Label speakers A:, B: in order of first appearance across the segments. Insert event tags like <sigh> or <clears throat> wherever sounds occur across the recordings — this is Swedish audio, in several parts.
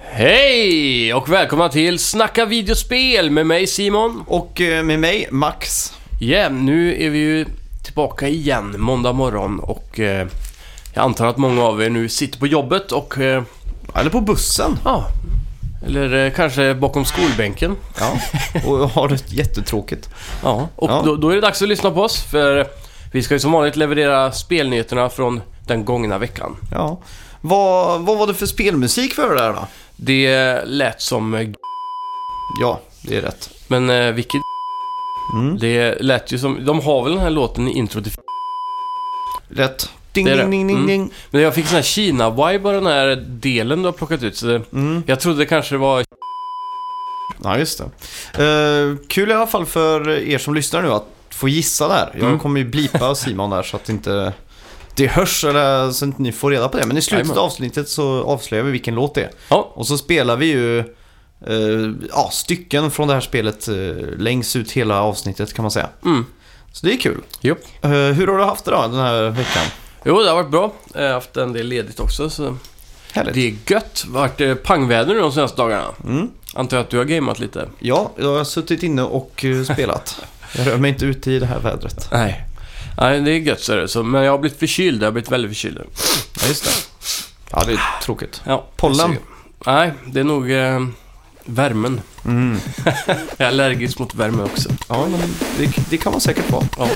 A: Hej och välkomna till Snacka videospel med mig Simon.
B: Och eh, med mig, Max.
A: Yeah, nu är vi ju tillbaka igen måndag morgon och eh, jag antar att många av er nu sitter på jobbet och eh,
B: Eller på bussen.
A: ja, eller eh, kanske bakom skolbänken. <laughs>
B: Ja. Och har det jättetråkigt.
A: Ja, och
B: Ja.
A: Då, då är det dags att lyssna på oss för vi ska ju som vanligt leverera spelnyheterna från den gångna veckan.
B: Ja. Vad, vad var det för spelmusik för det där då?
A: Det lät som eh,
B: Ja, det är rätt.
A: men eh, vilket
B: Mm.
A: Det lät ju som, de har väl den här låten i intro till
B: Rätt. Ding,
A: Det är det.
B: ding, ding, ding,
A: Mm.
B: ding.
A: Men jag fick sån här Kina-vibe av den här delen du har plockat ut. Så det,
B: Mm.
A: jag trodde det kanske var...
B: Ja, just det. Eh, kul i alla fall för er som lyssnar nu att få gissa där. Jag
A: Mm.
B: kommer ju
A: <laughs>
B: blipa Simon där så att inte det hörs eller så att ni får reda på det. Men i slutet
A: Jajamän.
B: av avsnittet så avslöjar vi vilken låt det är.
A: Ja,
B: Och så spelar vi ju eh, ja, stycken från det här spelet eh, längs ut hela avsnittet kan man säga.
A: mm.
B: Så det är kul.
A: Jo.
B: Eh, hur har du haft det då den här veckan?
A: jo, det har varit bra. Jag har haft en del ledigt också, så
B: Härligt.
A: det är gött. Det har varit eh, pangväder nu de senaste dagarna.
B: Mm.
A: Antar jag att du har gameat lite?
B: Ja, jag har suttit inne och eh, spelat. jag rör mig inte ute i det här vädret.
A: Nej. Nej, det är gött så är det. Så, men jag har blivit förkyld. Jag har blivit väldigt förkyld.
B: Ja, just det. Ja, det är tråkigt.
A: Ja,
B: Pollen?
A: så- Nej, det är nog eh, värmen.
B: Mm.
A: <laughs> Jag är allergisk mot värme också.
B: Ja, men det, det kan man säkert vara.
A: Ja.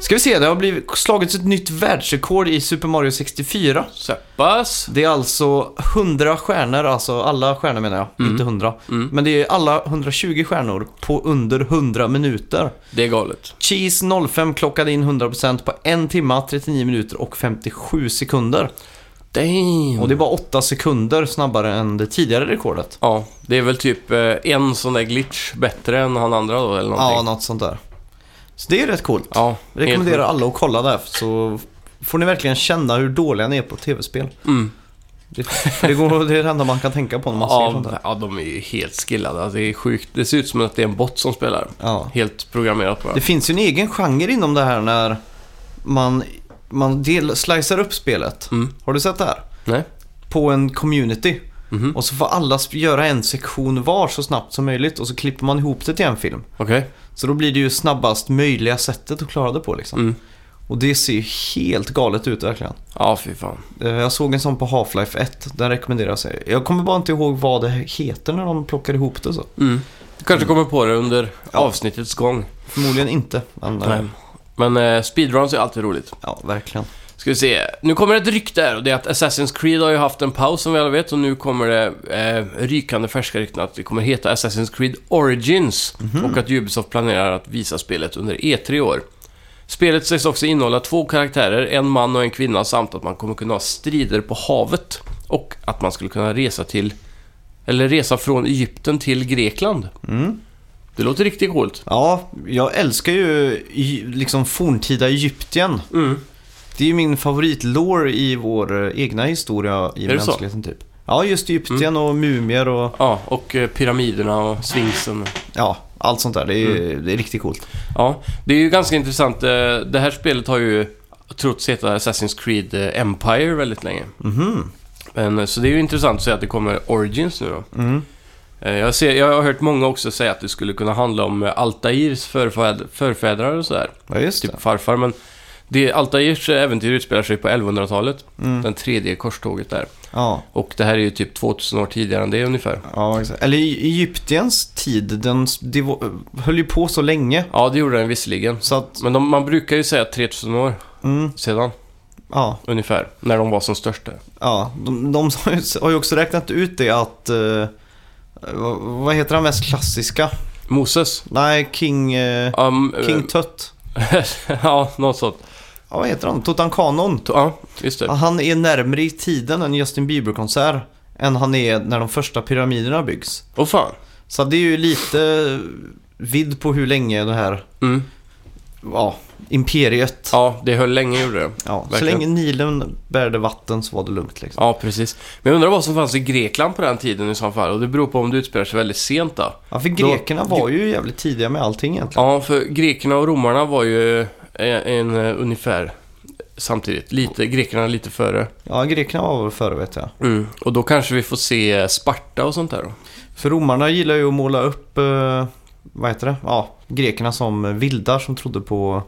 B: Ska vi se, det har blivit slagits ett nytt världsrekord i Super Mario 64.
A: Så pass.
B: Det är alltså 100 stjärnor, alltså alla stjärnor menar jag,
A: Mm.
B: inte 100.
A: Mm.
B: Men det är alla 120 stjärnor på under 100 minuter.
A: Det är galet.
B: Cheese 05 klockade in 100% på 1 timma, 39 minuter och 57 sekunder.
A: Damn.
B: Och det är bara 8 sekunder snabbare än det tidigare rekordet.
A: Ja, det är väl typ eh, en sån där glitch bättre än han andra då eller
B: Ja,
A: någonting.
B: något sånt där. Så det är rätt coolt.
A: Ja,
B: Jag rekommenderar alla att kolla där så får ni verkligen känna hur dåliga ni är på tv-spel.
A: Mm.
B: Det, för det, går, det är det enda man kan tänka på när man ser sånt
A: Ja,
B: där.
A: ja, de är ju helt skillade. Alltså, det är sjukt. Det ser ut som att det är en bot som spelar.
B: Ja.
A: Helt programmerat bara.
B: Det finns ju en egen genre inom det här när man, man del, slicear upp spelet.
A: Mm.
B: Har du sett det här?
A: Nej?
B: På en community.
A: Mhm.
B: Och så får alla sp- göra en sektion var så snabbt som möjligt och så klipper man ihop det till en film.
A: Okej.
B: Så då blir det ju snabbast möjliga sättet att klara det på liksom.
A: Mm.
B: Och det ser ju helt galet ut verkligen.
A: Ja, fy fan.
B: Eh, Jag såg en sån på Half-Life 1. Den rekommenderas. jag. Jag kommer bara inte ihåg vad det heter när de plockar ihop det så.
A: Mm. Du kanske kommer på det under avsnittets gång.
B: Förmodligen inte. Men, eh,
A: Nej. Men eh, speedruns är alltid roligt.
B: ja, verkligen.
A: Ska vi se. Nu kommer ett rykte här och det är att Assassin's Creed har ju haft en paus som vi alla vet och nu kommer det eh, rykande färska rykten att det kommer heta Assassin's Creed Origins och att Ubisoft planerar att visa spelet under E3 i år. Spelet sägs också innehålla två karaktärer, en man och en kvinna samt att man kommer kunna ha strider på havet och att man skulle kunna resa till eller resa från Egypten till Grekland.
B: Mm.
A: Det låter riktigt coolt.
B: Ja, jag älskar ju i- liksom forntida Egyptien.
A: Mm.
B: Det är ju min favoritlår i vår eh, egna historia i
A: Är det så? Mm.
B: mänskligheten typ. Ja, just Egyptien och mumier och
A: Ja, och eh, pyramiderna och Sphinxen.
B: ja, allt sånt där. Det är,
A: Mm.
B: det är riktigt coolt.
A: Ja, det är ju ganska intressant. Eh, Det här spelet har ju trots heta Assassin's Creed eh, Empire väldigt länge.
B: Mhm.
A: Men, eh, så det är ju intressant att se att det kommer Origins nu då.
B: Mm.
A: Eh, Jag, ser, jag har hört många också säga att det skulle kunna handla om eh, Altairs förfäder, förfäder och sådär.
B: Ja, just det.
A: Typ farfar, men det, Altairs eh, äventyr utspelar sig på 1100-talet.
B: Mm.
A: Den tredje korståget där.
B: Ja,
A: Och det här är ju typ 2000 år tidigare än det ungefär.
B: ja exakt. Eller i- Egyptiens tid, den s- det var, eh, höll ju på så länge.
A: Ja, det gjorde den visserligen.
B: Så att,
A: Men de, man brukar ju säga 3000 år
B: mm,
A: sedan
B: ja,
A: ungefär, när de var som störst där.
B: ja. De, de <laughs> har ju- har ju också räknat ut det att, eh, vad- vad heter han mest klassiska?
A: Moses.
B: Nej, King, eh,
A: Um,
B: King Tut.
A: <laughs> ja, något sånt.
B: Ja, vad heter han? Tutankhamun.
A: Ja, just det.
B: Han är närmare i tiden en Justin Bieber-konsert än han är när de första pyramiderna byggs.
A: Åh fan.
B: Så det är ju lite vidd på hur länge det här
A: Mm.
B: ja, imperiet. Ja,
A: Ja, det höll länge gjorde det.
B: så
A: verkligen.
B: länge Nilen bärde vatten så var det lugnt liksom.
A: Ja, precis. Men jag undrar vad som fanns i Grekland på den tiden i så fall. Och det beror på om det utspelar sig väldigt sent då.
B: Ja, för grekerna var ju jävligt tidiga med allting egentligen.
A: Ja, för grekerna och romarna var ju en, en eh, ungefär samtidigt. Lite, grekerna lite före.
B: Ja, grekerna var väl före vet jag.
A: Mm. Och då kanske vi får se Sparta och sånt där då.
B: För romarna gillar ju att måla upp, eh, vad heter det? Ja, grekerna som vildar som trodde på...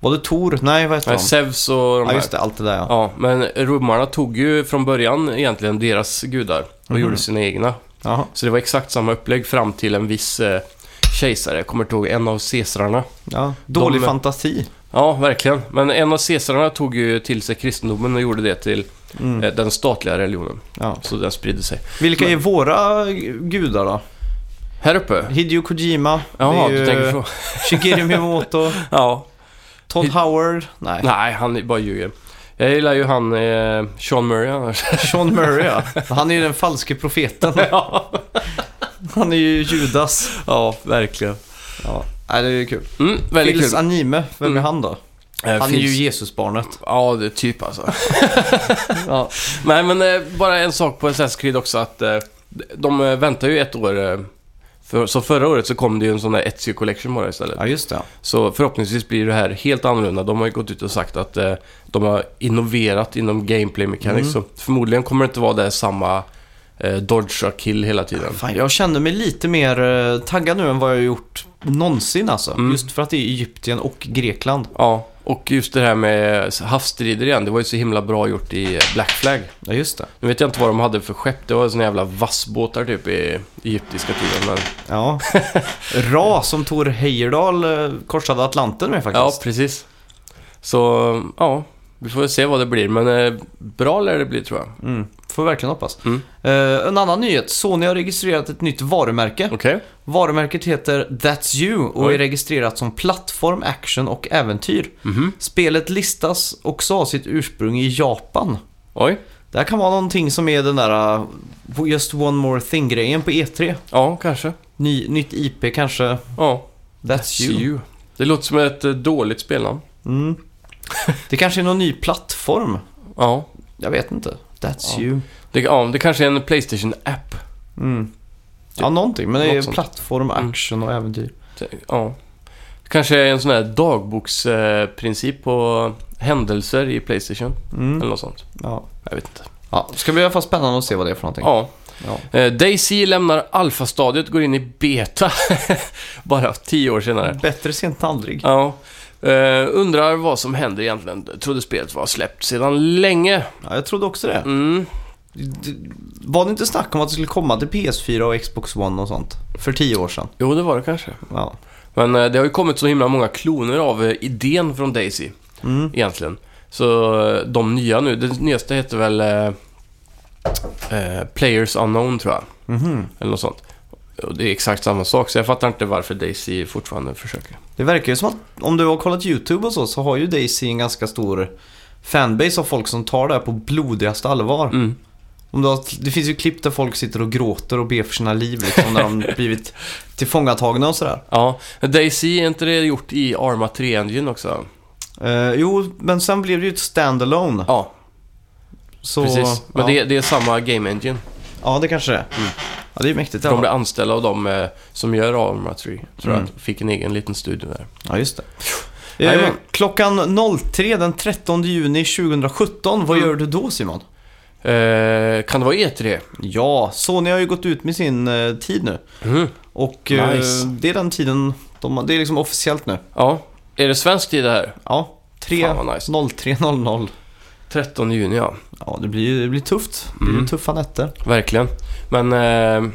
B: Var det Tor? Nej, vad heter
A: Nej,
B: han?
A: Zeus och de
B: Ja,
A: här.
B: just det. Allt det där ja.
A: Ja, men romarna tog ju från början egentligen deras gudar och
B: Mhm.
A: gjorde sina egna.
B: Jaha.
A: Så det var exakt samma upplägg fram till en viss eh, kejsare. Jag kommer inte ihåg, en av Caesararna.
B: Ja. Dålig
A: De-
B: fantasi.
A: Ja, verkligen. Men en av Caesararna tog ju till sig kristendomen och gjorde det till
B: Mm.
A: eh, den statliga religionen.
B: Ja.
A: Så den spridde sig.
B: Vilka är våra gudar då?
A: Här uppe?
B: Hideo Kojima.
A: Jaha,
B: det
A: du
B: är
A: tänker
B: ju
A: så. <laughs>
B: Shigeru Miyamoto.
A: Ja.
B: Todd
A: Hid-
B: Howard. Nej.
A: Nej, han bara ljuger. Jag gillar ju han, eh, Sean Murray
B: <laughs>
A: annars.
B: Sean Murray ja. Han är ju den falske profeten.
A: <laughs> ja.
B: Han är ju Judas.
A: ja, verkligen.
B: Ja. Nej, det är ju kul.
A: Mm, väldigt
B: Phils
A: kul.
B: Anime, vem
A: Mm.
B: är han då?
A: Eh,
B: Han är
A: Phils-
B: ju Jesusbarnet.
A: Ja, det är typ alltså.
B: Ja.
A: Nej, men eh, bara en sak på Assassin's Creed också att eh, de eh, väntar ju ett år. Eh, för, så förra året så kom det ju en sån där Etsy Collection bara istället.
B: ja, just det. ja.
A: Så förhoppningsvis blir det här helt annorlunda. De har ju gått ut och sagt att eh, de har innoverat inom gameplay
B: Mm.
A: mechanics. Så förmodligen kommer det inte vara det samma eh, dodge och kill hela tiden.
B: Fan, jag känner mig lite mer eh, taggad nu än vad jag har gjort någonsin alltså.
A: Mm.
B: Just för att det är Egypten och Grekland.
A: Ja, och just det här med havsstrider igen. Det var ju så himla bra gjort i eh, Black Flag.
B: Ja, just det.
A: Nu vet jag inte vad de hade för skepp. Det var såna jävla vassbåtar typ i egyptiska tiden. Men...
B: Ja. <laughs> Ra som Tor Heyerdahl eh, korsade Atlanten med
A: Ja,
B: faktiskt.
A: precis. Så, ja. Vi får väl se vad det blir, men eh, bra lär det bli tror jag.
B: Mm. Får verkligen hoppas.
A: Mm.
B: Eh, en annan nyhet. Sony har registrerat ett nytt varumärke.
A: Okej.
B: Varumärket heter That's You och
A: Oj.
B: är registrerat som plattform, action och äventyr.
A: Mhm.
B: Spelet listas också ha sitt ursprung i Japan.
A: Oj.
B: Det här kan vara någonting som är den där uh, Just One More Thing-grejen på E3.
A: Ja, kanske.
B: Ny, nytt IP kanske.
A: Ja.
B: That's
A: See
B: you.
A: you. Det låter som ett eh, dåligt spelnamn.
B: Mm. Det kanske är någon ny plattform.
A: Ja.
B: Jag vet inte. That's
A: Ja.
B: you.
A: Det, ja, det kanske är en Playstation-app.
B: Mm. Ja, någonting. Men det
A: Typ. Något
B: är
A: sånt.
B: plattform,
A: Mm.
B: action och äventyr.
A: Ja. Det kanske är en sån här dagboksprincip på händelser i Playstation. Eller
B: Mm.
A: något sånt.
B: Ja.
A: Jag vet inte.
B: Ja. Ska bli i alla fall spännande att se vad det är för någonting.
A: Ja.
B: Ja.
A: Eh, DayZ lämnar alfastadiet, går in i beta. <laughs> Bara tio år senare.
B: Bättre sent än aldrig.
A: <laughs> Ja. Eh, undrar vad som händer egentligen. Trodde spelet var släppt sedan länge.
B: Ja, jag trodde också det.
A: Mm.
B: D- Var det inte snack om att det skulle komma till PS4 och Xbox One och sånt? För tio år sedan.
A: Jo, det var det kanske.
B: Ja.
A: Men eh, det har ju kommit så himla många kloner av eh, idén från Daisy
B: Mm.
A: egentligen. Så eh, de nya nu, det nyaste heter väl eh, eh, Players Unknown tror jag,
B: Mhm.
A: eller något sånt. Och det är exakt samma sak, så jag fattar inte varför Daisy fortfarande försöker.
B: Det verkar ju som att om du har kollat YouTube och så, så har ju Daisy en ganska stor fanbase av folk som tar det här på blodigaste allvar.
A: Mm.
B: Om du har, det finns ju klipp där folk sitter och gråter och ber för sina liv liksom, när de
A: <laughs>
B: blivit tillfångatagna och sådär.
A: Ja, men Daisy är inte det gjort i Arma 3-engine också?
B: Eh, jo, men sen blev det ju ett standalone.
A: Ja,
B: så,
A: precis. Men
B: ja.
A: Det, Mm. är- det är samma game engine.
B: ja, det kanske det är. Ja, det är ju mäktigt i alla
A: De
B: fall.
A: blev anställda av de eh, som gör Arma 3, tror
B: Mm.
A: jag. Fick en egen liten studio där.
B: Ja, just det. Eh,
A: Jajamän.
B: klockan 03 den 13 juni 2017, vad
A: Mm.
B: gör du då Simon?
A: Eh, kan det vara E3?
B: Ja, Sony har ju gått ut med sin eh, tid nu.
A: Mm.
B: Och
A: Nice.
B: eh, det är den tiden, de, har- det är liksom officiellt nu.
A: Ja. Är det svensk tid det här?
B: Ja, 3
A: Fan vad nice.
B: 03.00.
A: 13 juni, ja.
B: Ja, det blir ju det blir tufft. Det blir
A: Mm.
B: tuffa nätter.
A: Verkligen. Men... Eh,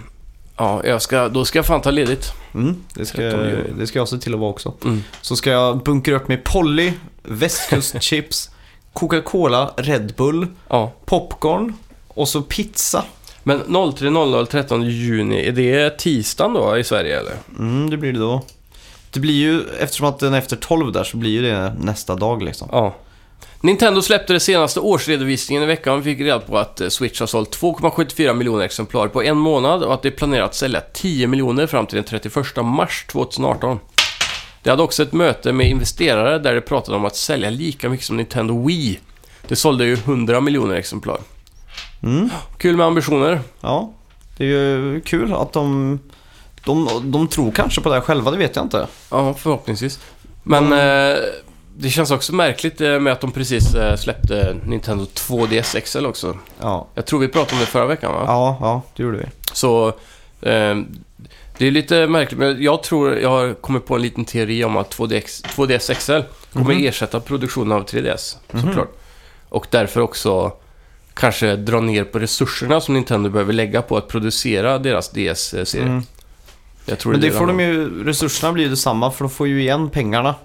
A: ja, jag ska, då ska jag fan ta ledigt.
B: Mm, det, ska,
A: 13 juni.
B: det ska jag se till att vara också.
A: Mm.
B: Så ska jag bunkra upp med Polly,
A: <laughs>
B: västkustchips, Coca-Cola, Red Bull,
A: Ja.
B: popcorn och så pizza.
A: Men 03.00 13 juni, är det tisdagen då i Sverige eller?
B: Mm, det blir det då. Det blir ju, eftersom att den är efter 12 där så blir ju det nästa dag liksom.
A: Ja. Nintendo släppte det senaste årsredovisningen i veckan och fick reda på att eh, Switch har sålt 2,74 miljoner exemplar på en månad och att det är planerat att sälja 10 miljoner fram till den 31 mars 2018. Det hade också ett möte med investerare där det pratade om att sälja lika mycket som Nintendo Wii. Det sålde ju 100 miljoner exemplar.
B: Mm.
A: Kul med ambitioner.
B: Ja, det är ju kul att de, de... De tror kanske på det här själva, det vet jag inte.
A: Ja, förhoppningsvis. Men eh, det känns också märkligt eh, med att de precis eh, släppte Nintendo 2DS XL också.
B: Ja,
A: Jag tror vi pratade om det förra veckan va?
B: ja, ja det gjorde vi.
A: Så eh, det är lite märkligt, men jag tror jag har kommit på en liten teori om att 2DX, 2DS XL kommer
B: Mhm.
A: ersätta produktionen av 3DS,
B: Mhm.
A: såklart. Och därför också kanske dra ner på resurserna som Nintendo behöver lägga på att producera deras DS-serie.
B: Mm.
A: Jag tror
B: Men det får
A: handlar om.
B: de ju... Resurserna blir ju detsamma för de får ju igen pengarna.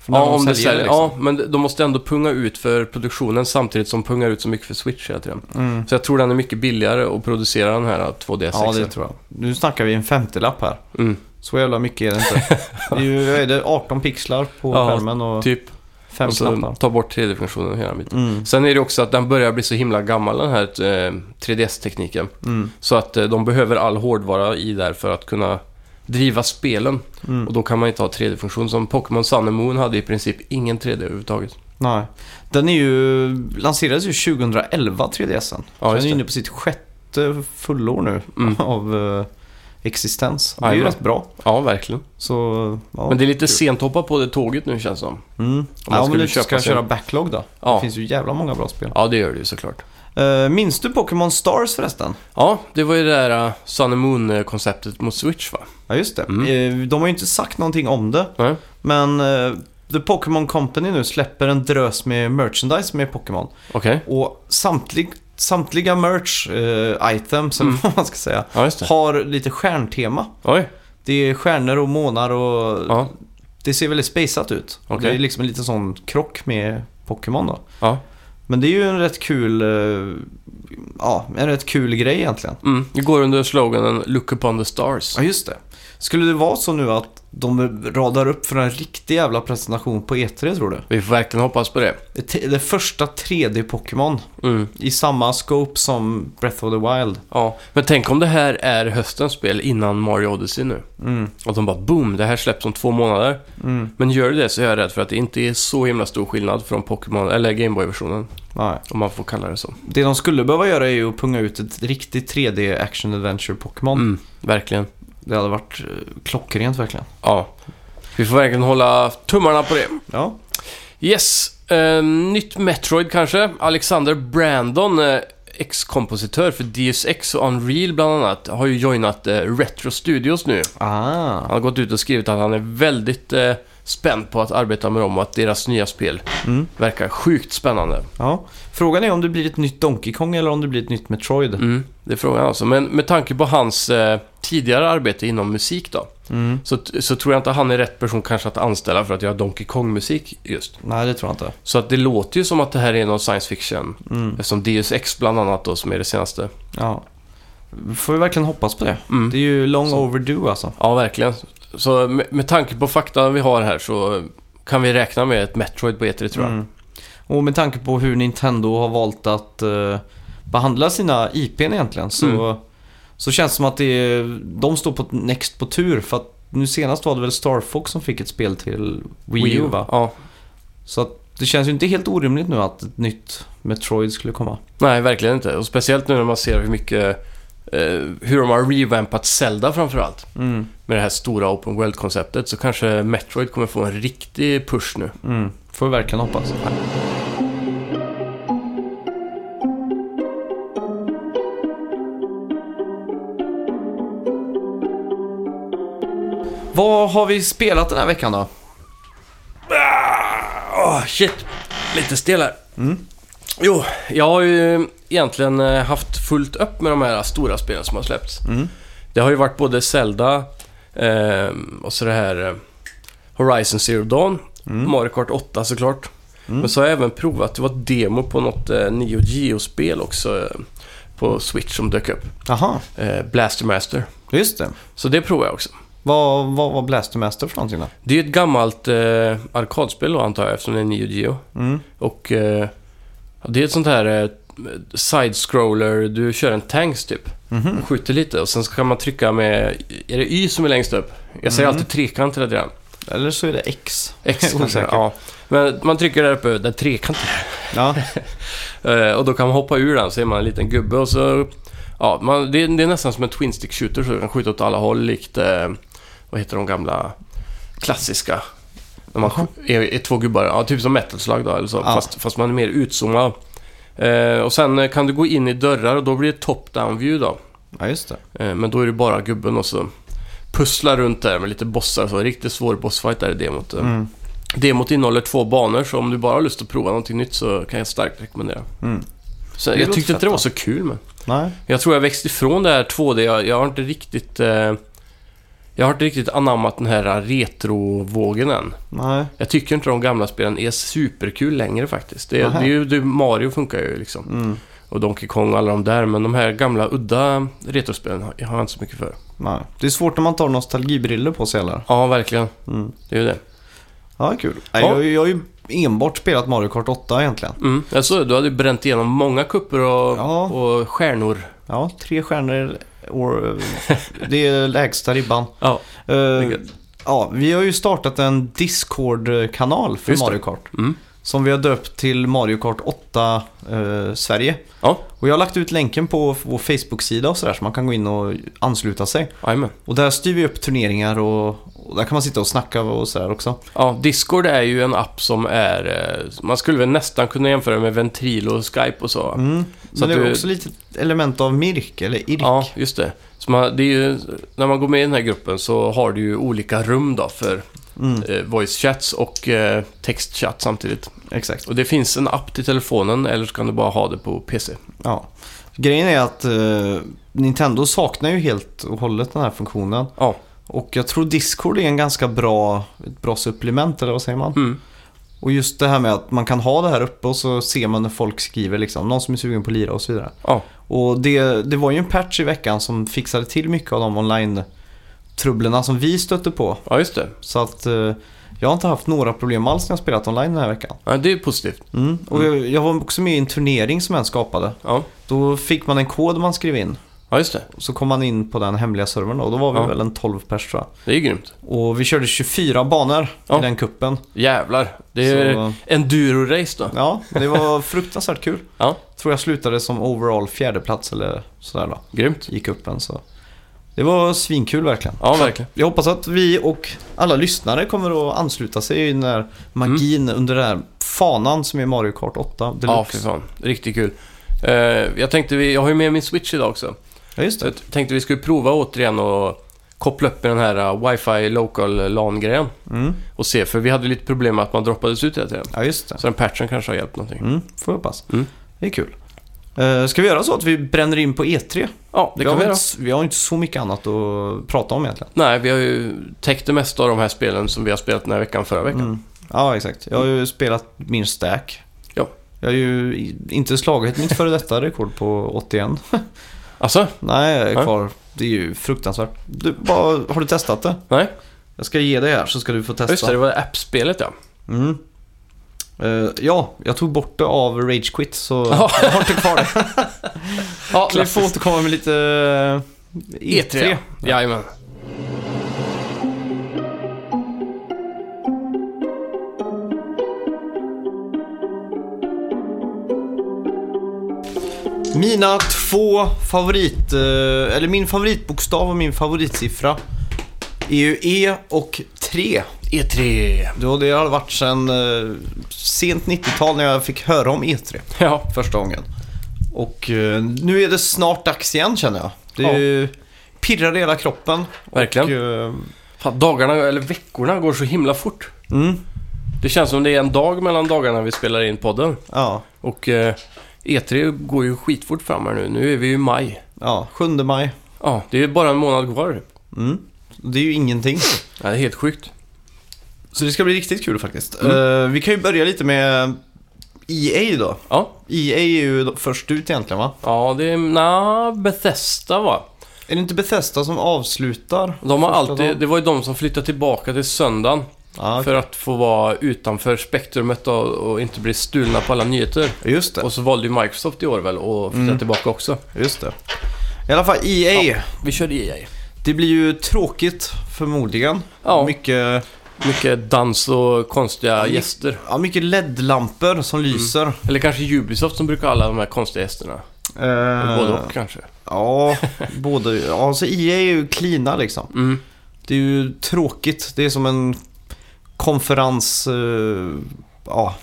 B: För när
A: Ja,
B: de
A: om det
B: säljer,
A: säljer,
B: liksom.
A: ja, men de måste ändå punga ut för produktionen samtidigt som pungar ut så mycket för Switch hela tiden.
B: Mm.
A: Så jag tror den är mycket billigare att producera den här 2DS
B: Ja,
A: XL.
B: det tror jag. Nu snackar vi en 50-lapp här.
A: Mm,
B: Så jävla mycket är det inte. Det är ju vad är det 18 pixlar på
A: Ja,
B: skärmen och
A: typ.
B: 5
A: och så
B: knappar.
A: ta bort 3D-funktionen och hela biten.
B: Mm,
A: Sen är det också att den börjar bli så himla gammal den här eh, 3DS-tekniken.
B: mm,
A: Så att eh, de behöver all hårdvara i där för att kunna driva spelen.
B: mm.
A: Och då kan man inte ha 3D-funktion. Som Pokémon Sun and Moon hade i princip ingen 3D överhuvudtaget.
B: Nej. Den är ju, lanserades ju 2011, 3DSen.
A: Ja,
B: den
A: just det.
B: är inne på sitt sjätte fullår nu
A: Mm.
B: <laughs> av eh, existens. Det är ju
A: Jajamän.
B: rätt bra.
A: Ja, verkligen.
B: Så, ja.
A: Men det är lite
B: kul.
A: sent att hoppa på det tåget nu känns det som.
B: Mm.
A: man
B: Ja, men
A: skulle
B: du
A: köpa
B: ska
A: sig-
B: köra backlog då. Det
A: Ja,
B: finns ju jävla många bra spel.
A: ja det gör det ju såklart.
B: Eh, minns du Pokémon Stars förresten?
A: Ja, det var ju det där eh, Sun and Moon-konceptet mot Switch va?
B: Ja, just det.
A: Mm.
B: Eh, de har ju inte sagt någonting om det.
A: Nej.
B: Men eh, The Pokémon Company nu släpper en drös med merchandise med Pokémon.
A: Okej.
B: Och samtlig, samtliga merch eh, items, eller
A: Mm.
B: vad man ska säga,
A: Ja, just det.
B: har lite stjärntema.
A: Oj.
B: Det är stjärnor och månar och
A: Ja,
B: det ser väldigt spejsat ut. Och
A: Okej.
B: Det är liksom en liten sån krock med Pokémon då.
A: ja.
B: Men det är ju en rätt kul, eh, ja, en rätt kul grej egentligen.
A: Mm. Det går under sloganen “Look upon the stars”.
B: Ja, just det. Skulle det vara så nu att de radar upp för en riktig jävla presentation på E3 tror du?
A: Vi får verkligen hoppas på det.
B: Det, te- det första 3D-Pokémon
A: Mm.
B: i samma scope som Breath of the Wild.
A: Ja, men tänk om det här är höstens spel innan Mario Odyssey nu.
B: Mm,
A: Och de bara boom, det här släpps om två månader.
B: mm,
A: Men gör det så är jag rädd för att det inte är så himla stor skillnad från Pokémon, eller Gameboy-versionen.
B: nej.
A: Om man får kalla det så.
B: Det de skulle behöva göra är ju att punga ut ett riktigt 3D action adventure Pokémon.
A: Mm, verkligen.
B: Det hade varit eh, klockrent verkligen.
A: Ja. Vi får verkligen hålla tummarna på det.
B: Ja.
A: Yes, eh, nytt Metroid kanske. Alexander Brandon, eh, ex-kompositör för Deus Ex och Unreal bland annat, har ju joinat eh, Retro Studios nu.
B: Ah.
A: Han har gått ut och skrivit att han är väldigt eh, spänd på att arbeta med dem och att deras nya spel
B: Mm.
A: verkar sjukt spännande.
B: Ja. Frågan är om det blir ett nytt Donkey Kong eller om det blir ett nytt Metroid.
A: Mm, det är frågan alltså. Men med tanke på hans eh, tidigare arbete inom musik då,
B: Mm.
A: så, så tror jag inte han är rätt person kanske att anställa för att göra Donkey Kong-musik just.
B: Nej, det tror jag inte.
A: Så att det låter ju som att det här är någon science fiction.
B: Mm.
A: Eftersom Deus Ex bland annat då, som är det senaste.
B: Ja. Får vi verkligen hoppas på det.
A: Mm.
B: Det är ju long
A: Så.
B: overdue alltså.
A: Ja, verkligen. Så med, med tanke på fakta vi har här så kan vi räkna med ett Metroid på E3 tror jag.
B: Mm. Och med tanke på hur Nintendo har valt att eh, behandla sina IPn egentligen så, så känns det som att det är, de står på next på tur. För att nu senast var det väl Star Fox som fick ett spel till Wii, U va?
A: Ja.
B: Så att det känns ju inte helt orimligt nu att ett nytt Metroid skulle komma.
A: Nej, verkligen inte. Och speciellt nu när man ser hur mycket... Eh, hur de har revampat Zelda framförallt.
B: Mm.
A: Med det här stora Open World-konceptet. Så kanske Metroid kommer få en riktig push nu.
B: Mm. Får vi verkligen hoppas. Vad har vi spelat den här veckan då?
A: Ah, shit! Lite stel här. Jo, jag har ju egentligen eh, haft fullt upp med de här stora spelen som har släppts.
B: Mm.
A: Det har ju varit både Zelda eh, och så det här eh, Horizon Zero Dawn. Mario Kart 8 såklart. Men så har jag även provat, det var ett demo på något eh, Neo Geo-spel också eh, på Switch som dök upp.
B: Aha,
A: Eh, Blaster Master.
B: just det.
A: Så det provade jag också.
B: Vad, vad var Blaster Master för någonting då?
A: Det är ju ett gammalt eh, arkadspel då antar jag eftersom det är Neo Geo.
B: Mm.
A: Och eh, ja, det är ett sånt här eh, side-scroller, du kör en tanks typ.
B: Mhm.
A: Skjuter lite och sen ska man trycka med, är det Y som är längst upp? Jag säger
B: Mm.
A: alltid trekant hela tiden.
B: Eller så är det X.
A: X kanske,
B: Osäkert.
A: ja. Men man trycker där uppe, där trekanten
B: Ja,
A: <laughs> Eh, Och då kan man hoppa ur den, så är man en liten gubbe och så... Ja, man, det, det är nästan som en Twin Stick Shooter, så du kan skjuta åt alla håll likt... Eh, vad heter de gamla klassiska? När man
B: Jaha.
A: sk- är, är två gubbar, ja, typ som metalslag då, eller så,
B: Ja.
A: fast, fast man är mer utzoomad. Eh, och sen eh, kan du gå in i dörrar och då blir det top-down view då.
B: ja just det.
A: Eh, men då är det bara gubben och så pusslar runt där med lite bossar och så. Riktigt svår bossfight där i demot. Mm.
B: Mm.
A: Demot innehåller två banor, så om du bara har lust att prova någonting nytt så kan jag starkt rekommendera.
B: Mm.
A: Så
B: Det
A: jag
B: låter
A: tyckte inte det var
B: fett,
A: så kul men.
B: Nej.
A: Jag tror jag växte ifrån det här 2D. Jag, jag har inte riktigt... Eh, jag har inte riktigt anammat den här retrovågen än.
B: Nej.
A: Jag tycker inte de gamla spelen är superkul längre faktiskt. Det, det
B: Nähä.
A: är ju, det, Mario funkar ju liksom.
B: Mm.
A: Och Donkey Kong och alla de där. Men de här gamla udda retrospelen har har jag inte så mycket för.
B: Nej. Det är svårt när man tar nostalgibriller på sig heller.
A: Ja, verkligen.
B: Mm.
A: Det är ju det.
B: Ja, kul. Nej,
A: Ja.
B: Jag, jag har ju enbart spelat Mario Kart 8 egentligen.
A: Mm. Jag såg det. Du hade ju bränt igenom många kupper och,
B: Ja.
A: och stjärnor.
B: Ja, tre stjärnor. Or, det är lägsta ribban.
A: Ja.
B: Eh,
A: är gött.
B: ja, vi har ju startat en Discord-kanal för
A: Just det.
B: Mario Kart.
A: Mm.
B: Som vi har döpt till Mario Kart 8 eh, Sverige.
A: Ja,
B: Och jag har lagt ut länken på vår Facebook-sida och sådär så man kan gå in och ansluta sig.
A: jajamän.
B: Och där styr vi upp turneringar och, och där kan man sitta och snacka och sådär också.
A: Ja, Discord är ju en app som är... eh, Man skulle väl nästan kunna jämföra med Ventrilo och Skype och så.
B: Mm.
A: Så
B: Men
A: att
B: det är
A: du-
B: också lite element av Mirk eller Irk.
A: Ja, just det. Så man, det är ju, när man går med i den här gruppen så har du ju olika rum då för
B: Mm,
A: eh, voice chats och eh, textchatt samtidigt.
B: exakt.
A: Och det finns en app till telefonen eller så kan du bara ha det på PC.
B: Ja. Grejen är att eh, Nintendo saknar ju helt och hållet den här funktionen.
A: Ja.
B: Och jag tror Discord är en ganska bra, ett bra supplement eller vad säger man?
A: Mm.
B: Och just det här med att man kan ha det här uppe och så ser man när folk skriver liksom, någon som är sugen på att lira och så vidare.
A: Ja.
B: Och det, det var ju en patch i veckan som fixade till mycket av de online-trubblorna som vi stötte på.
A: ja, just det.
B: Så att eh, jag har inte haft några problem alls när jag spelat online den här veckan.
A: Ja, det är positivt.
B: Mm. Och jag, jag var också med i en turnering som en skapade.
A: Ja,
B: Då fick man en kod man skrev in.
A: ja just det.
B: Så kom man in på den hemliga servern då. Då var vi
A: Ja.
B: väl en 12 pers tror jag.
A: Det är ju grymt.
B: Och vi körde 24 banor
A: Ja.
B: i den kuppen.
A: Jävlar. Det är
B: Så-
A: enduro-race då.
B: Ja, det var fruktansvärt kul.
A: Ja.
B: Tror jag slutade som overall fjärdeplats eller sådär då
A: Grymt.
B: i kuppen. Så. Det var svinkul verkligen.
A: Ja, verkligen.
B: Jag hoppas att vi och alla lyssnare kommer att ansluta sig i den här magin under den här fanan som är Mario Kart 8
A: Mm. Ja, fy
B: Deluxe.
A: fan. Riktigt kul. Eh, jag tänkte vi... Jag har ju med min Switch idag också.
B: Ja, just
A: Så
B: det.
A: jag tänkte vi skulle prova återigen och koppla upp med den här eh, Wi-Fi local LAN-grejen
B: Mm.
A: och se, för vi hade lite problem med att man droppades ut hela tiden.
B: Ja, just det.
A: Så den patchen kanske har hjälpt någonting.
B: Mm, får jag hoppas.
A: Mm.
B: Det är kul. Uh, ska vi göra så att vi bränner in på E E3?
A: Ja, det
B: vi,
A: kan vi
B: har inte,
A: göra.
B: s- vi har inte så mycket annat att prata om egentligen.
A: Nej, vi har ju täckt det mesta av de här spelen som vi har spelat den här veckan förra veckan.
B: Mm. Ja, exakt. Jag har ju spelat min stack.
A: Ja.
B: Jag har ju i- inte slagit mitt före detta rekord på 81.
A: Alltså?
B: Nej, jag är
A: Nej.
B: kvar. Det är ju fruktansvärt. Du, bara, har du testat det?
A: Nej?
B: Jag ska ge dig här så ska du få
A: Ja, Just
B: testa.
A: det, det var app-spelet ja.
B: Mm. Eh, ja, jag tog bort det av Rage Quit så
A: Ja.
B: jag har
A: <laughs>
B: inte kvar det.
A: Ja,
B: Vi får återkomma med lite eh,
A: E3.
B: E3.
A: E3. Jajamän.
B: Mina två favorit, eh, eller min favoritbokstav och min favoritsiffra är ju E och 3.
A: E E3.
B: Det har det har varit sedan eh, sent 90-tal när jag fick höra om E3
A: Ja.
B: första gången. Och eh, nu är det snart dags igen känner jag. Det
A: Ja.
B: är ju pirrar i hela kroppen.
A: Verkligen.
B: Och, eh,
A: Fan, dagarna, eller veckorna går så himla fort.
B: mm,
A: Det känns som det är en dag mellan dagarna vi spelar in podden.
B: ja,
A: Och eh, E3 går ju skitfort fram här nu. Nu är vi ju i maj.
B: ja, 7 maj.
A: Ja, det är bara en månad kvar.
B: Mm. Det är ju ingenting.
A: Ja, det är helt sjukt.
B: Så det ska bli riktigt kul faktiskt. Eh, vi kan ju börja lite med EA då.
A: Ja,
B: EA är ju E då först ut egentligen va?
A: ja det är... Na, Bethesda va?
B: Är det inte Bethesda som avslutar?
A: De har
B: första
A: alltid...
B: dagen?
A: Det var ju de som flyttade tillbaka till söndagen
B: Ja,
A: för att få vara utanför spektrumet och, och inte bli stulna på alla nyheter.
B: just det.
A: Och så valde ju Microsoft i år väl att flytta
B: Mm.
A: tillbaka också.
B: Just det. I alla fall E EA.
A: Vi E körde EA.
B: Det blir ju tråkigt förmodligen.
A: Ja.
B: Mycket
A: Mycket dans och konstiga
B: my-
A: gäster.
B: Ja, mycket LED-lampor som
A: Mm.
B: lyser.
A: Eller kanske Ubisoft som brukar ha alla de här konstiga gästerna.
B: Eh,
A: Både och kanske.
B: Ja, <laughs> både. Ja, alltså så EA E är ju cleana liksom.
A: Mm.
B: Det är ju tråkigt. Det är som en konferens... eh, ja,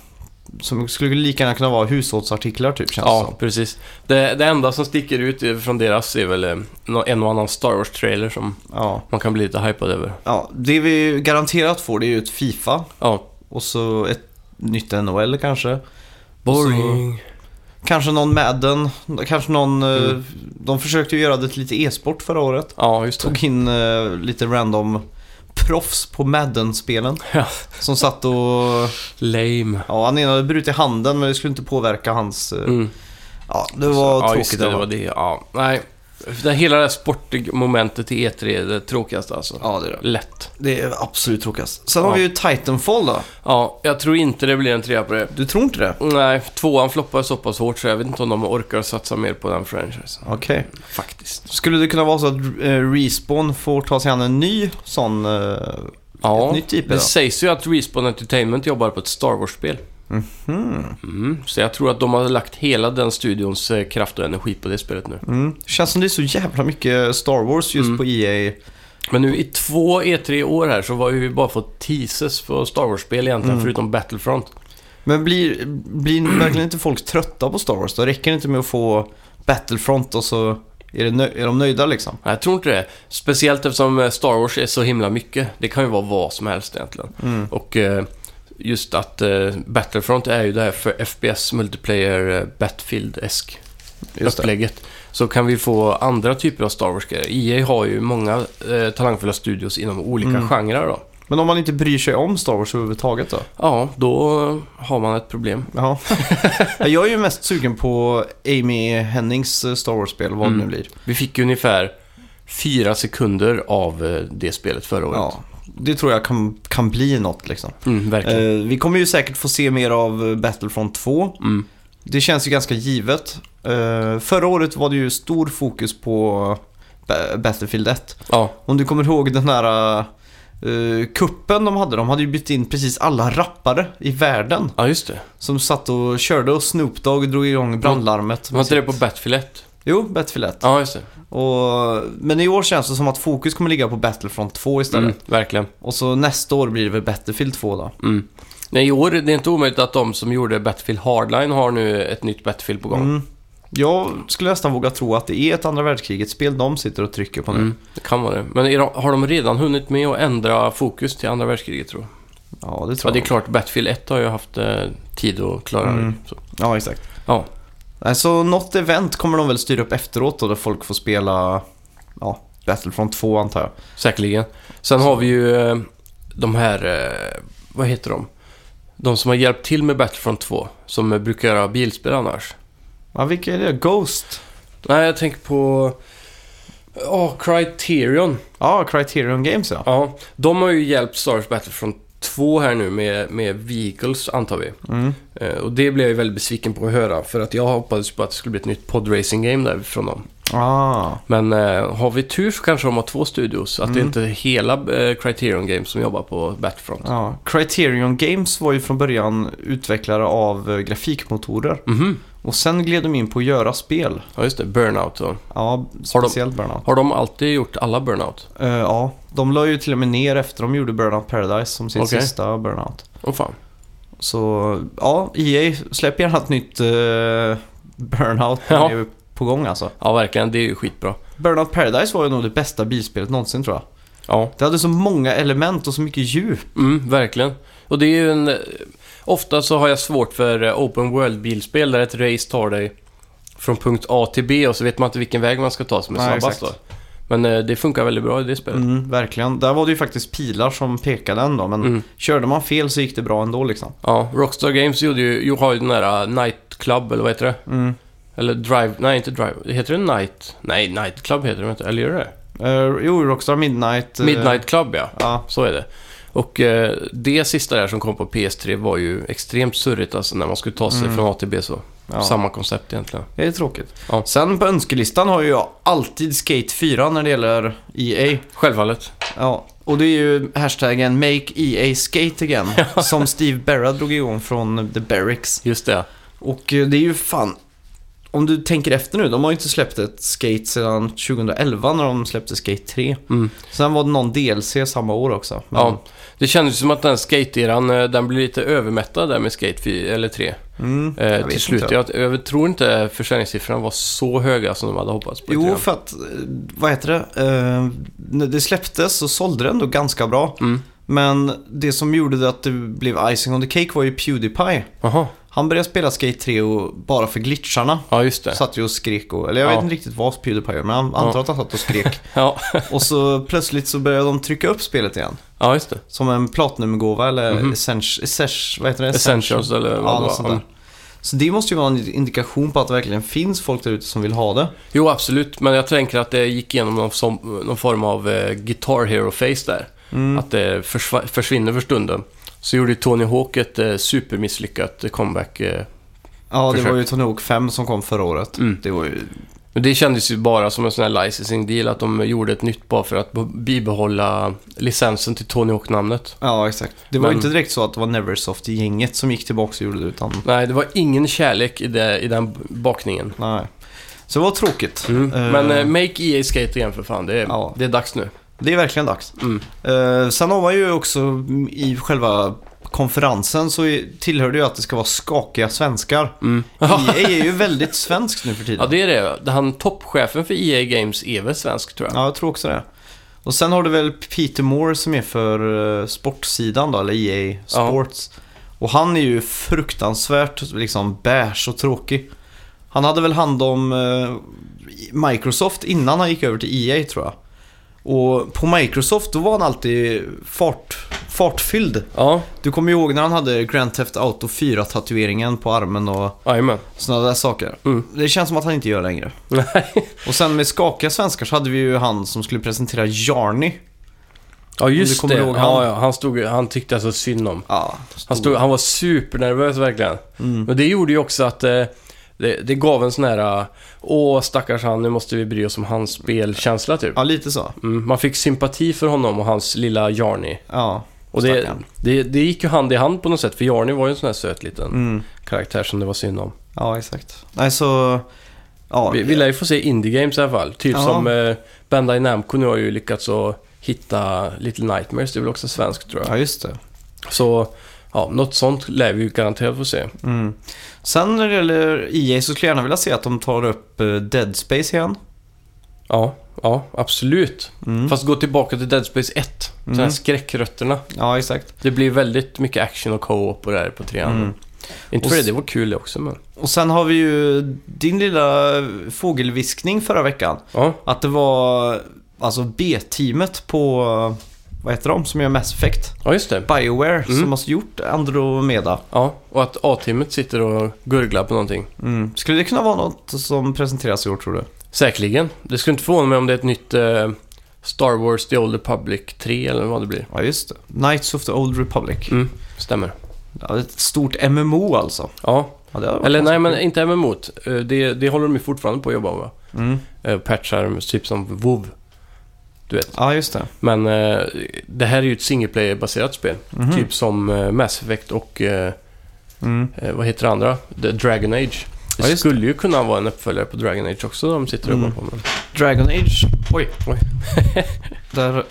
B: som skulle lika gärna kunna vara hushållsartiklar typ känns det
A: Ja,
B: som.
A: precis. Det, det enda som sticker ut från deras är väl eh, nå- en och annan Star Wars-trailer som
B: Ja.
A: man kan bli lite hypad över.
B: ja, det vi garanterat får det är ju ett Fifa
A: Ja.
B: och så ett nytt NHL kanske. Kanske någon Madden, kanske någon... eh,
A: Mm.
B: De försökte ju göra det till lite e-sport förra året.
A: Ja, just det.
B: Tog in eh, lite random proffs på Madden-spelen.
A: <laughs> Ja.
B: Som satt och...
A: Lame.
B: Ja, han ena hade brutit handen men det skulle inte påverka hans... eh,
A: Mm.
B: Ja, det var
A: ja, just
B: tråkigt.
A: det,
B: Det
A: det var det. Ja, nej. Det, hela det här sportmomentet i E3 är det tråkigaste alltså.
B: Ja, det är det.
A: Lätt.
B: Det är absolut tråkigast. Sen
A: Ja.
B: har vi ju Titanfall då.
A: Ja, jag tror inte det blir en trea på det.
B: Du tror inte det?
A: Nej, tvåan floppar så pass hårt så jag vet inte om de orkar satsa mer på den franchisen.
B: Okej.
A: Faktiskt.
B: Skulle det kunna vara så att eh, Respawn får ta sig an en ny sån... eh,
A: Ja,
B: Ett nytt IP
A: det
B: då?
A: sägs ju att Respawn Entertainment jobbar på ett Star Wars-spel.
B: Hmm.
A: Mm. Så jag tror att de har lagt hela den studions eh, kraft och energi på det spelet nu.
B: Mm. Känns som det är så jävla mycket Star Wars just
A: Mm.
B: på E EA.
A: Men nu i två E3 år här så har vi ju bara fått teases på Star Wars-spel egentligen,
B: Mm.
A: förutom Battlefront.
B: Men blir,
A: <clears throat>
B: blir verkligen inte folk trötta på Star Wars då? Räcker det inte med att få Battlefront och så är, det nö- är de nöjda liksom?
A: Nej, jag tror inte det. Speciellt eftersom eh, Star Wars är så himla mycket. Det kan ju vara vad som helst egentligen.
B: Mm.
A: Och eh, just att eh, Battlefront är ju det här för FPS multiplayer eh, Battlefield-esk
B: Just det.
A: upplägget. Så kan vi få andra typer av Star Wars-grejer. EA har ju många eh, talangfulla studios inom olika
B: Mm.
A: genrer då.
B: Men om man inte bryr sig om Star Wars överhuvudtaget då?
A: Ja, då har man ett problem. <laughs>
B: Ja. Jag är ju mest sugen på Amy Hennings eh, Star Wars-spel, vad det
A: Mm.
B: nu blir.
A: Vi fick ju ungefär fyra sekunder av eh, det spelet förra året.
B: Ja. Det tror jag kan, kan bli något liksom.
A: Mm, verkligen.
B: Eh, vi kommer ju säkert få se mer av eh, Battlefront 2.
A: Mm.
B: Det känns ju ganska givet. Eh, förra året var det ju stor fokus på Ba- Battlefield 1.
A: Ja,
B: Om du kommer ihåg den här eh, kuppen de hade. De hade ju bytt in precis alla rappare i världen.
A: ja, just det.
B: Som satt och körde och Snoop Dogg drog igång brandlarmet.
A: Var inte Mm. det på Battlefield 1?
B: Jo, Battlefield 1.
A: Ja, just det.
B: Och, men i år känns det som att fokus kommer ligga på Battlefront 2 istället.
A: Mm, verkligen.
B: Och så nästa år blir det väl Battlefield 2 då.
A: Mm. Nej, i år, det är inte omöjligt att de som gjorde Battlefield Hardline har nu ett nytt Battlefield på gång. Mm.
B: Mm. Jag skulle nästan våga tro att det är ett andra världskrigets spel de sitter och trycker på nu.
A: Mm. Det kan vara det. Men är de, har de redan hunnit med att ändra fokus till andra världskriget, tror jag?
B: Ja, det
A: Ja,
B: tror
A: det är
B: jag.
A: klart. Battlefield 1 har ju haft eh, tid att klara
B: Mm.
A: det. Så.
B: Ja, exakt.
A: Ja.
B: Nej, Så något event kommer de väl styra upp efteråt då, där folk får spela ja, Battlefront 2 antar jag.
A: Säkerligen. Sen har vi ju eh, de här, eh, vad heter de? De som har hjälpt till med Battlefront 2, som eh, brukar göra bilspel annars.
B: Ja, vilka är det? Ghost?
A: Nej, jag tänker på... Ja, Criterion.
B: Ja, Criterion Games ja.
A: Ja, de har ju hjälpt Star Wars Battlefront 2 här nu med, med Vehicles, antar vi.
B: Mm.
A: Eh, och det blev jag ju väldigt besviken på att höra, för att jag hoppades på att det skulle bli ett nytt podracing-game där från dem.
B: Ah.
A: Men eh, har vi tur så kanske de har två studios, att det
B: Mm.
A: inte är hela eh, Criterion Games som jobbar på Battlefront.
B: ja. Criterion Games var ju från början utvecklare av eh, grafikmotorer.
A: Mhm.
B: Och sen gled de in på att göra spel.
A: Ja, just det. Burnout och...
B: Ja, speciellt Burnout.
A: Har de alltid gjort alla Burnout?
B: Eh, ja, de la ju till och med ner efter de gjorde Burnout Paradise som sin
A: Okej.
B: sista Burnout.
A: Åh fan.
B: Så ja, EA släpp gärna ett nytt eh, Burnout.
A: Ja.
B: Det är ju på gång alltså.
A: Ja, verkligen. Det är ju skitbra.
B: Burnout Paradise var ju nog det bästa bilspelet någonsin tror jag.
A: Ja.
B: Det hade så många element och så mycket djup.
A: Mm, verkligen. Och det är ju en... eh, Ofta så har jag svårt för eh, open world-bilspel där ett race tar dig från punkt A till B och så vet man inte vilken väg man ska ta som är
B: Nej,
A: snabbast
B: exakt.
A: då. Men eh, det funkar väldigt bra i det spelet.
B: Mm, verkligen. Där var det ju faktiskt pilar som pekade ändå men
A: Mm.
B: körde man fel så gick det bra ändå liksom.
A: Ja, Rockstar Games gjorde ju, ju- har ju den där eh, Night Club, eller vad heter det?
B: Mm.
A: Eller Drive... Nej, inte Drive. Heter det Night? Nej, Night Club heter det inte. Eller gör det
B: Eh, jo, Rockstar Midnight. eh,
A: Midnight Club, ja.
B: Ja,
A: Så är det. Och eh, det sista där som kom på PS3 var ju extremt surrigt alltså när man skulle ta sig
B: Mm.
A: från A till B så.
B: ja.
A: Samma koncept egentligen.
B: Det är tråkigt.
A: Ja.
B: Sen på önskelistan har ju jag alltid Skate 4 när det gäller E EA.
A: Självfallet.
B: Ja, Och det är ju hashtaggen Make EA
A: <laughs>
B: Skate Again som Steve Berra drog igång från The Barracks.
A: Just det.
B: Och eh, det är ju fan, om du tänker efter nu, de har ju inte släppt ett Skate sedan 2011 när de släppte Skate 3.
A: Mm.
B: Sen var det någon DLC samma år också. Men-
A: Ja. Det kändes som att den skate-eran, eh, den blev lite övermättad där med Skate 4, eller 3.
B: Mm, jag
A: Eh,
B: vet
A: till slut.
B: inte.
A: Jag, jag tror inte försäljningssiffran var så höga som de hade hoppats på.
B: Jo,
A: tror jag.
B: för att, eh, vad heter det? Eh, när det släpptes så sålde det ändå ganska bra.
A: Mm.
B: Men det som gjorde det att det blev icing on the cake var ju Pewdiepie.
A: Jaha.
B: Han började spela Skate 3 och bara för glitcharna.
A: Ja, just det.
B: Satt ju och skrek och, eller jag
A: Ja.
B: vet inte riktigt vad Pewdiepie gör, men jag antar
A: Ja.
B: att han satt
A: <laughs>
B: och skrek.
A: Ja,
B: och så plötsligt så började de trycka upp spelet igen.
A: ja just det.
B: Som en platinumgåva eller
A: Mhm.
B: essens, essens, vad heter det?
A: Essentials eller vad
B: Ja,
A: det var. Mm.
B: något sånt där. Så det måste ju vara en indikation på att det verkligen finns folk där ute som vill ha det.
A: Jo, absolut. Men jag tänker att det gick igenom någon, som, någon form av eh, Guitar Hero-face där.
B: Mm.
A: Att det försva- försvinner för stunden. Så gjorde ju Tony Hawk ett eh, supermisslyckat comeback. Eh.
B: Ja, det
A: Försök.
B: var ju Tony Hawk 5 som kom förra året.
A: Mm.
B: Det var ju...
A: Men det kändes ju bara som en sån här licensing deal, att de gjorde ett nytt bara för att b- bibehålla licensen till Tony Hawk-namnet.
B: Ja, exakt. Det var ju
A: Men-
B: inte direkt så att det var Neversoft-gänget som gick tillbaka och gjorde det, utan...
A: Nej, det var ingen kärlek i, det, i den bakningen.
B: Nej. Så det var tråkigt.
A: Mm.
B: Eh,
A: Men eh, make EA Skate igen för fan. Det är,
B: Ja.
A: det är dags nu.
B: Det är verkligen dags.
A: Mm.
B: Eh, sen har man ju också mm, i själva konferensen så i- tillhör det ju att det ska vara skakiga svenskar.
A: Mm.
B: EA är ju väldigt svensk nu för tiden.
A: Ja, det är det. Han, toppchefen för EA Games är väl svensk, tror jag.
B: Ja, jag tror också det. Och sen har du väl Peter Moore som är för eh, sportsidan då, eller EA Sports. Och han är ju fruktansvärt liksom beige och tråkig. Han hade väl hand om eh, Microsoft innan han gick över till EA tror jag. Och på Microsoft då var han alltid fart, fartfylld.
A: Ja,
B: Du kommer ju ihåg när han hade Grand Theft Auto 4-tatueringen på armen och
A: jajamän. <laughs>
B: sådana där saker.
A: Mm.
B: Det känns som att han inte gör längre. Och sen med skakiga svenskar så hade vi ju han som skulle presentera Jarny.
A: Ja,
B: just
A: just det.
B: det.
A: Ja, ja, han, stod, han tyckte alltså synd om.
B: Ja,
A: Han, stod, han var supernervös verkligen.
B: Mm.
A: Men det gjorde ju också att eh, det, det gav en sån här eh, Åh stackars han, nu måste vi bry oss om hans spelkänsla typ.
B: Ja, lite så.
A: Mm, man fick sympati för honom och hans lilla Jarny.
B: Ja,
A: Och det,
B: Stackarn.
A: det, det gick ju hand i hand på något sätt, för Jarny var ju en sån här söt liten
B: mm.
A: karaktär som det var synd om.
B: ja exakt. Nej, så... Ja,
A: Vi, vi lär ju få se Indie Games i alla fall. Typ
B: Ja.
A: som eh, Bandai Namco nu har ju lyckats att hitta Little Nightmares, det är väl också svenskt tror jag.
B: ja just det.
A: Så, ja, något sånt lär vi ju garanterat få se.
B: Mm. Sen när det gäller EA så skulle jag gärna vilja se att de tar upp eh, Dead Space igen.
A: Ja, ja, absolut.
B: Mm.
A: Fast gå tillbaka till Dead Space 1, mm. de här
B: Mm.
A: skräckrötterna.
B: Ja, exakt.
A: Det blir väldigt mycket action och co-op och det här på trean.
B: Mm.
A: Inte
B: Och
A: för det,
B: s-
A: det var kul det också men...
B: Och sen har vi ju din lilla fågelviskning förra veckan.
A: Ja,
B: Att det var alltså B-teamet på, vad heter de, som gör Mass Effect?
A: ja just det.
B: Bioware
A: Mm.
B: som har gjort Andromeda.
A: Ja, och att A-teamet sitter och gurglar på någonting.
B: Mm. Skulle det kunna vara något som presenteras i år tror du?
A: Säkerligen. Det skulle inte förvåna mig om det är ett nytt eh, Star Wars The Old Republic 3 eller vad det blir.
B: Ja, just det. Knights of the Old Republic.
A: Mm, stämmer.
B: Ja, ett stort MMO alltså.
A: Ja,
B: Ja, det hade varit
A: eller nej
B: konstigt.
A: men inte MMO't. Eh, Det, det håller de ju fortfarande på att jobba med.
B: Mm.
A: Eh, Patchar typ som WoW.
B: Ja, just det.
A: Men eh, det här är ju ett single player baserat spel.
B: Mhm.
A: Typ som eh, Mass Effect och eh,
B: Mm.
A: eh, vad heter det andra? The Dragon Age. Det
B: Ja, just
A: skulle ju kunna vara en uppföljare på Dragon Age också de sitter och jobbar
B: Mm.
A: på med.
B: Dragon Age. Oj.
A: Oj.
B: där...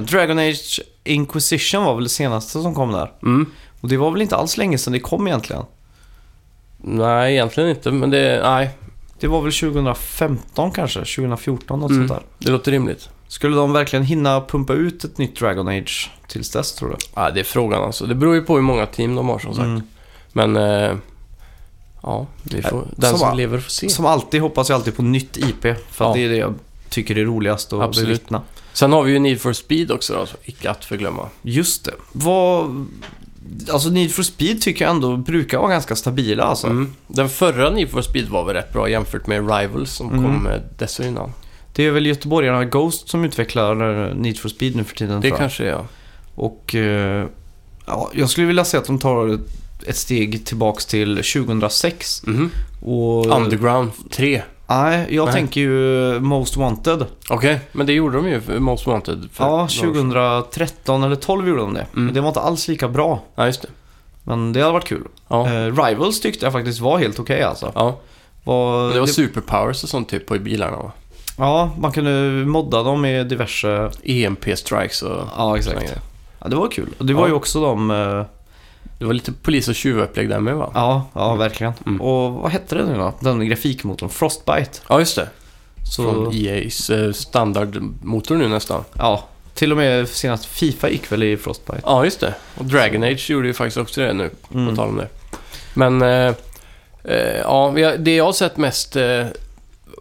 B: <laughs> Dragon Age Inquisition var väl det senaste som kom där.
A: Mm.
B: Och det var väl inte alls länge sedan det kom egentligen.
A: Nej, egentligen inte. Men det, nej,
B: Det var väl 2015 kanske, 2014 något
A: Mm.
B: sånt där.
A: det låter rimligt.
B: Skulle de verkligen hinna pumpa ut ett nytt Dragon Age tills dess tror du?
A: Ja, det är frågan alltså. Det beror ju på hur många team de har som sagt.
B: Mm. Äh,
A: Men... Eh, ja, vi får, den som,
B: som all-
A: lever får se.
B: Som alltid hoppas jag alltid på nytt IP. För att
A: Ja.
B: det är det jag tycker är roligast att
A: Absolut.
B: bevittna.
A: Sen har vi ju Need for Speed också då, så icke att förglömma.
B: Just det. Vad... Alltså Need for Speed tycker jag ändå brukar vara ganska stabila alltså.
A: Mm. Den förra Need for Speed var väl rätt bra jämfört med Rivals som
B: Mm.
A: kom eh, dessförinnan.
B: Det är väl göteborgarna Ghost som utvecklar eh, Need for Speed nu för tiden
A: Det
B: tror jag.
A: kanske är jag.
B: Och eh, ja, jag skulle vilja se att de tar ett- ett steg tillbaks till 2006.
A: Mhm.
B: Och
A: Underground 3.
B: Nej, jag
A: Nej.
B: tänker ju Most Wanted.
A: Okej, men det gjorde de ju, för Most Wanted. För några
B: Ja,
A: år sedan.
B: 2013 eller 12 gjorde de det.
A: Mm.
B: Men det var inte alls lika bra.
A: Ja, just det.
B: Men det hade varit kul.
A: Ja.
B: Eh, Rivals tyckte jag faktiskt var helt okej alltså.
A: Ja,
B: Var,
A: men det var superpowers och sånt typ på i bilarna va?
B: ja, man kunde modda dem i diverse...
A: E EMP-strikes och...
B: Ja, exakt. Ja, det var kul. Och det var
A: Ja.
B: ju också de... eh,
A: Det var lite polis och tjuvupplägg där med va? Ja,
B: Ja, ja verkligen.
A: Mm.
B: Och vad hette det nu då? Den grafikmotorn, Frostbite.
A: just det. Från
B: Så,
A: EA's eh, standardmotor nu nästan.
B: ja, till och med senast Fifa gick väl i Frostbite.
A: Ja, just det. Och Dragon Age gjorde ju faktiskt också det nu, på
B: Mm.
A: tal om det. Men, eh, eh, ja, vi har- det jag har sett mest eh,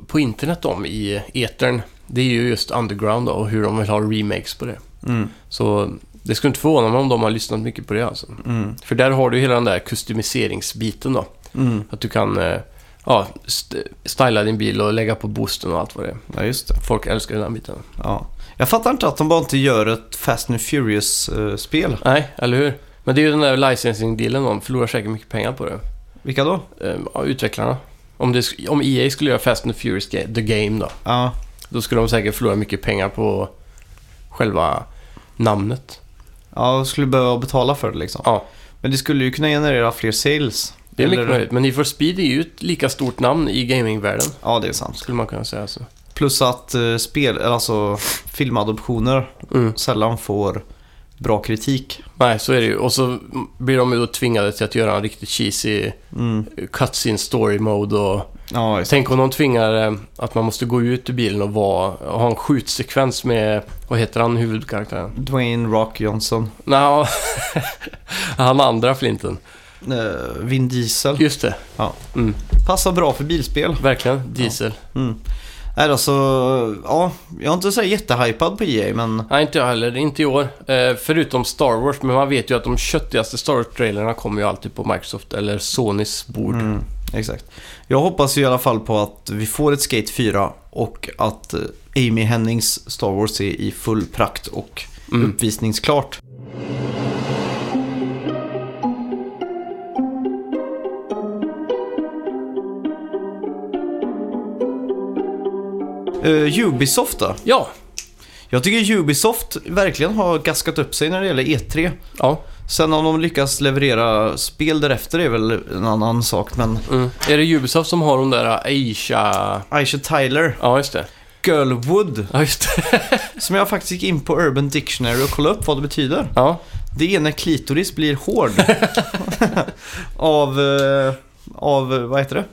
A: på internet om i etern, det är ju just Underground då, och hur de vill ha remakes på det.
B: Mm.
A: Så det skulle inte förvåna mig om de har lyssnat mycket på det alltså.
B: Mm.
A: För där har du ju hela den där customiseringsbiten då.
B: Mm.
A: Att du kan eh, ja, st- styla din bil och lägga på boosten och allt vad det är.
B: Ja, just det.
A: Folk älskar den här biten.
B: Ja. Jag fattar inte att de bara inte gör ett Fast and eh, Furious-spel.
A: Nej, eller hur? Men det är ju den där licensing-dealen de förlorar säkert mycket pengar på det.
B: Vilka då?
A: Eh, ja, utvecklarna. Om, det, sk- om EA skulle göra Fast and Furious ga- The Game då,
B: Ja,
A: då skulle de säkert förlora mycket pengar på själva namnet.
B: ja de skulle behöva betala för det liksom.
A: Ja.
B: Men det skulle ju kunna generera fler sales.
A: Det är mycket
B: Eller-
A: möjligt, men Need for Speed är ju ett lika stort namn i gamingvärlden,
B: Ja, det är sant.
A: skulle man kunna säga alltså. så.
B: Plus att eh, spel, eller alltså filmadoptioner
A: Mm.
B: sällan får bra kritik.
A: Nej, så är det ju. Och så blir de ju då tvingade till att göra en riktigt cheesy
B: Mm.
A: cutscene story mode och...
B: Ja, just det.
A: Tänk om de tvingar eh, att man måste gå ut ur bilen och, vara, och ha en skjutsekvens med... Vad heter han, huvudkaraktären?
B: Dwayne Rock Johnson.
A: Nå, <laughs> han andra flinten.
B: Eh, Vin Diesel.
A: Just det,
B: Passar bra för bilspel.
A: verkligen. Diesel.
B: Mm. Nej, alltså, ja, jag är inte så här jättehypad på EA, men
A: Nej, inte jag heller. Inte i år. Eh, förutom Star Wars, men man vet ju att de köttigaste Star Wars-trailerna kommer ju alltid på Microsoft eller Sonys bord.
B: Mm, exakt. Jag hoppas ju i alla fall på att vi får ett Skate 4 och att eh, Amy Hennings Star Wars är i full prakt och
A: Mm.
B: uppvisningsklart. Eh, Ubisoft då?
A: Ja,
B: Jag tycker Ubisoft verkligen har gaskat upp sig när det gäller E3.
A: ja.
B: Sen om de lyckas leverera spel därefter är väl en annan sak, men
A: Mm. Är det Ubisoft som har de där Aisha...
B: Aisha Tyler,
A: Ja, just det.
B: Girlwood,
A: Ja, just det. <laughs>
B: som jag faktiskt gick in på Urban Dictionary och kollade upp vad det betyder.
A: Ja.
B: Det är när klitoris blir
A: <laughs>
B: hård. av, eh, av, eh, vad heter det?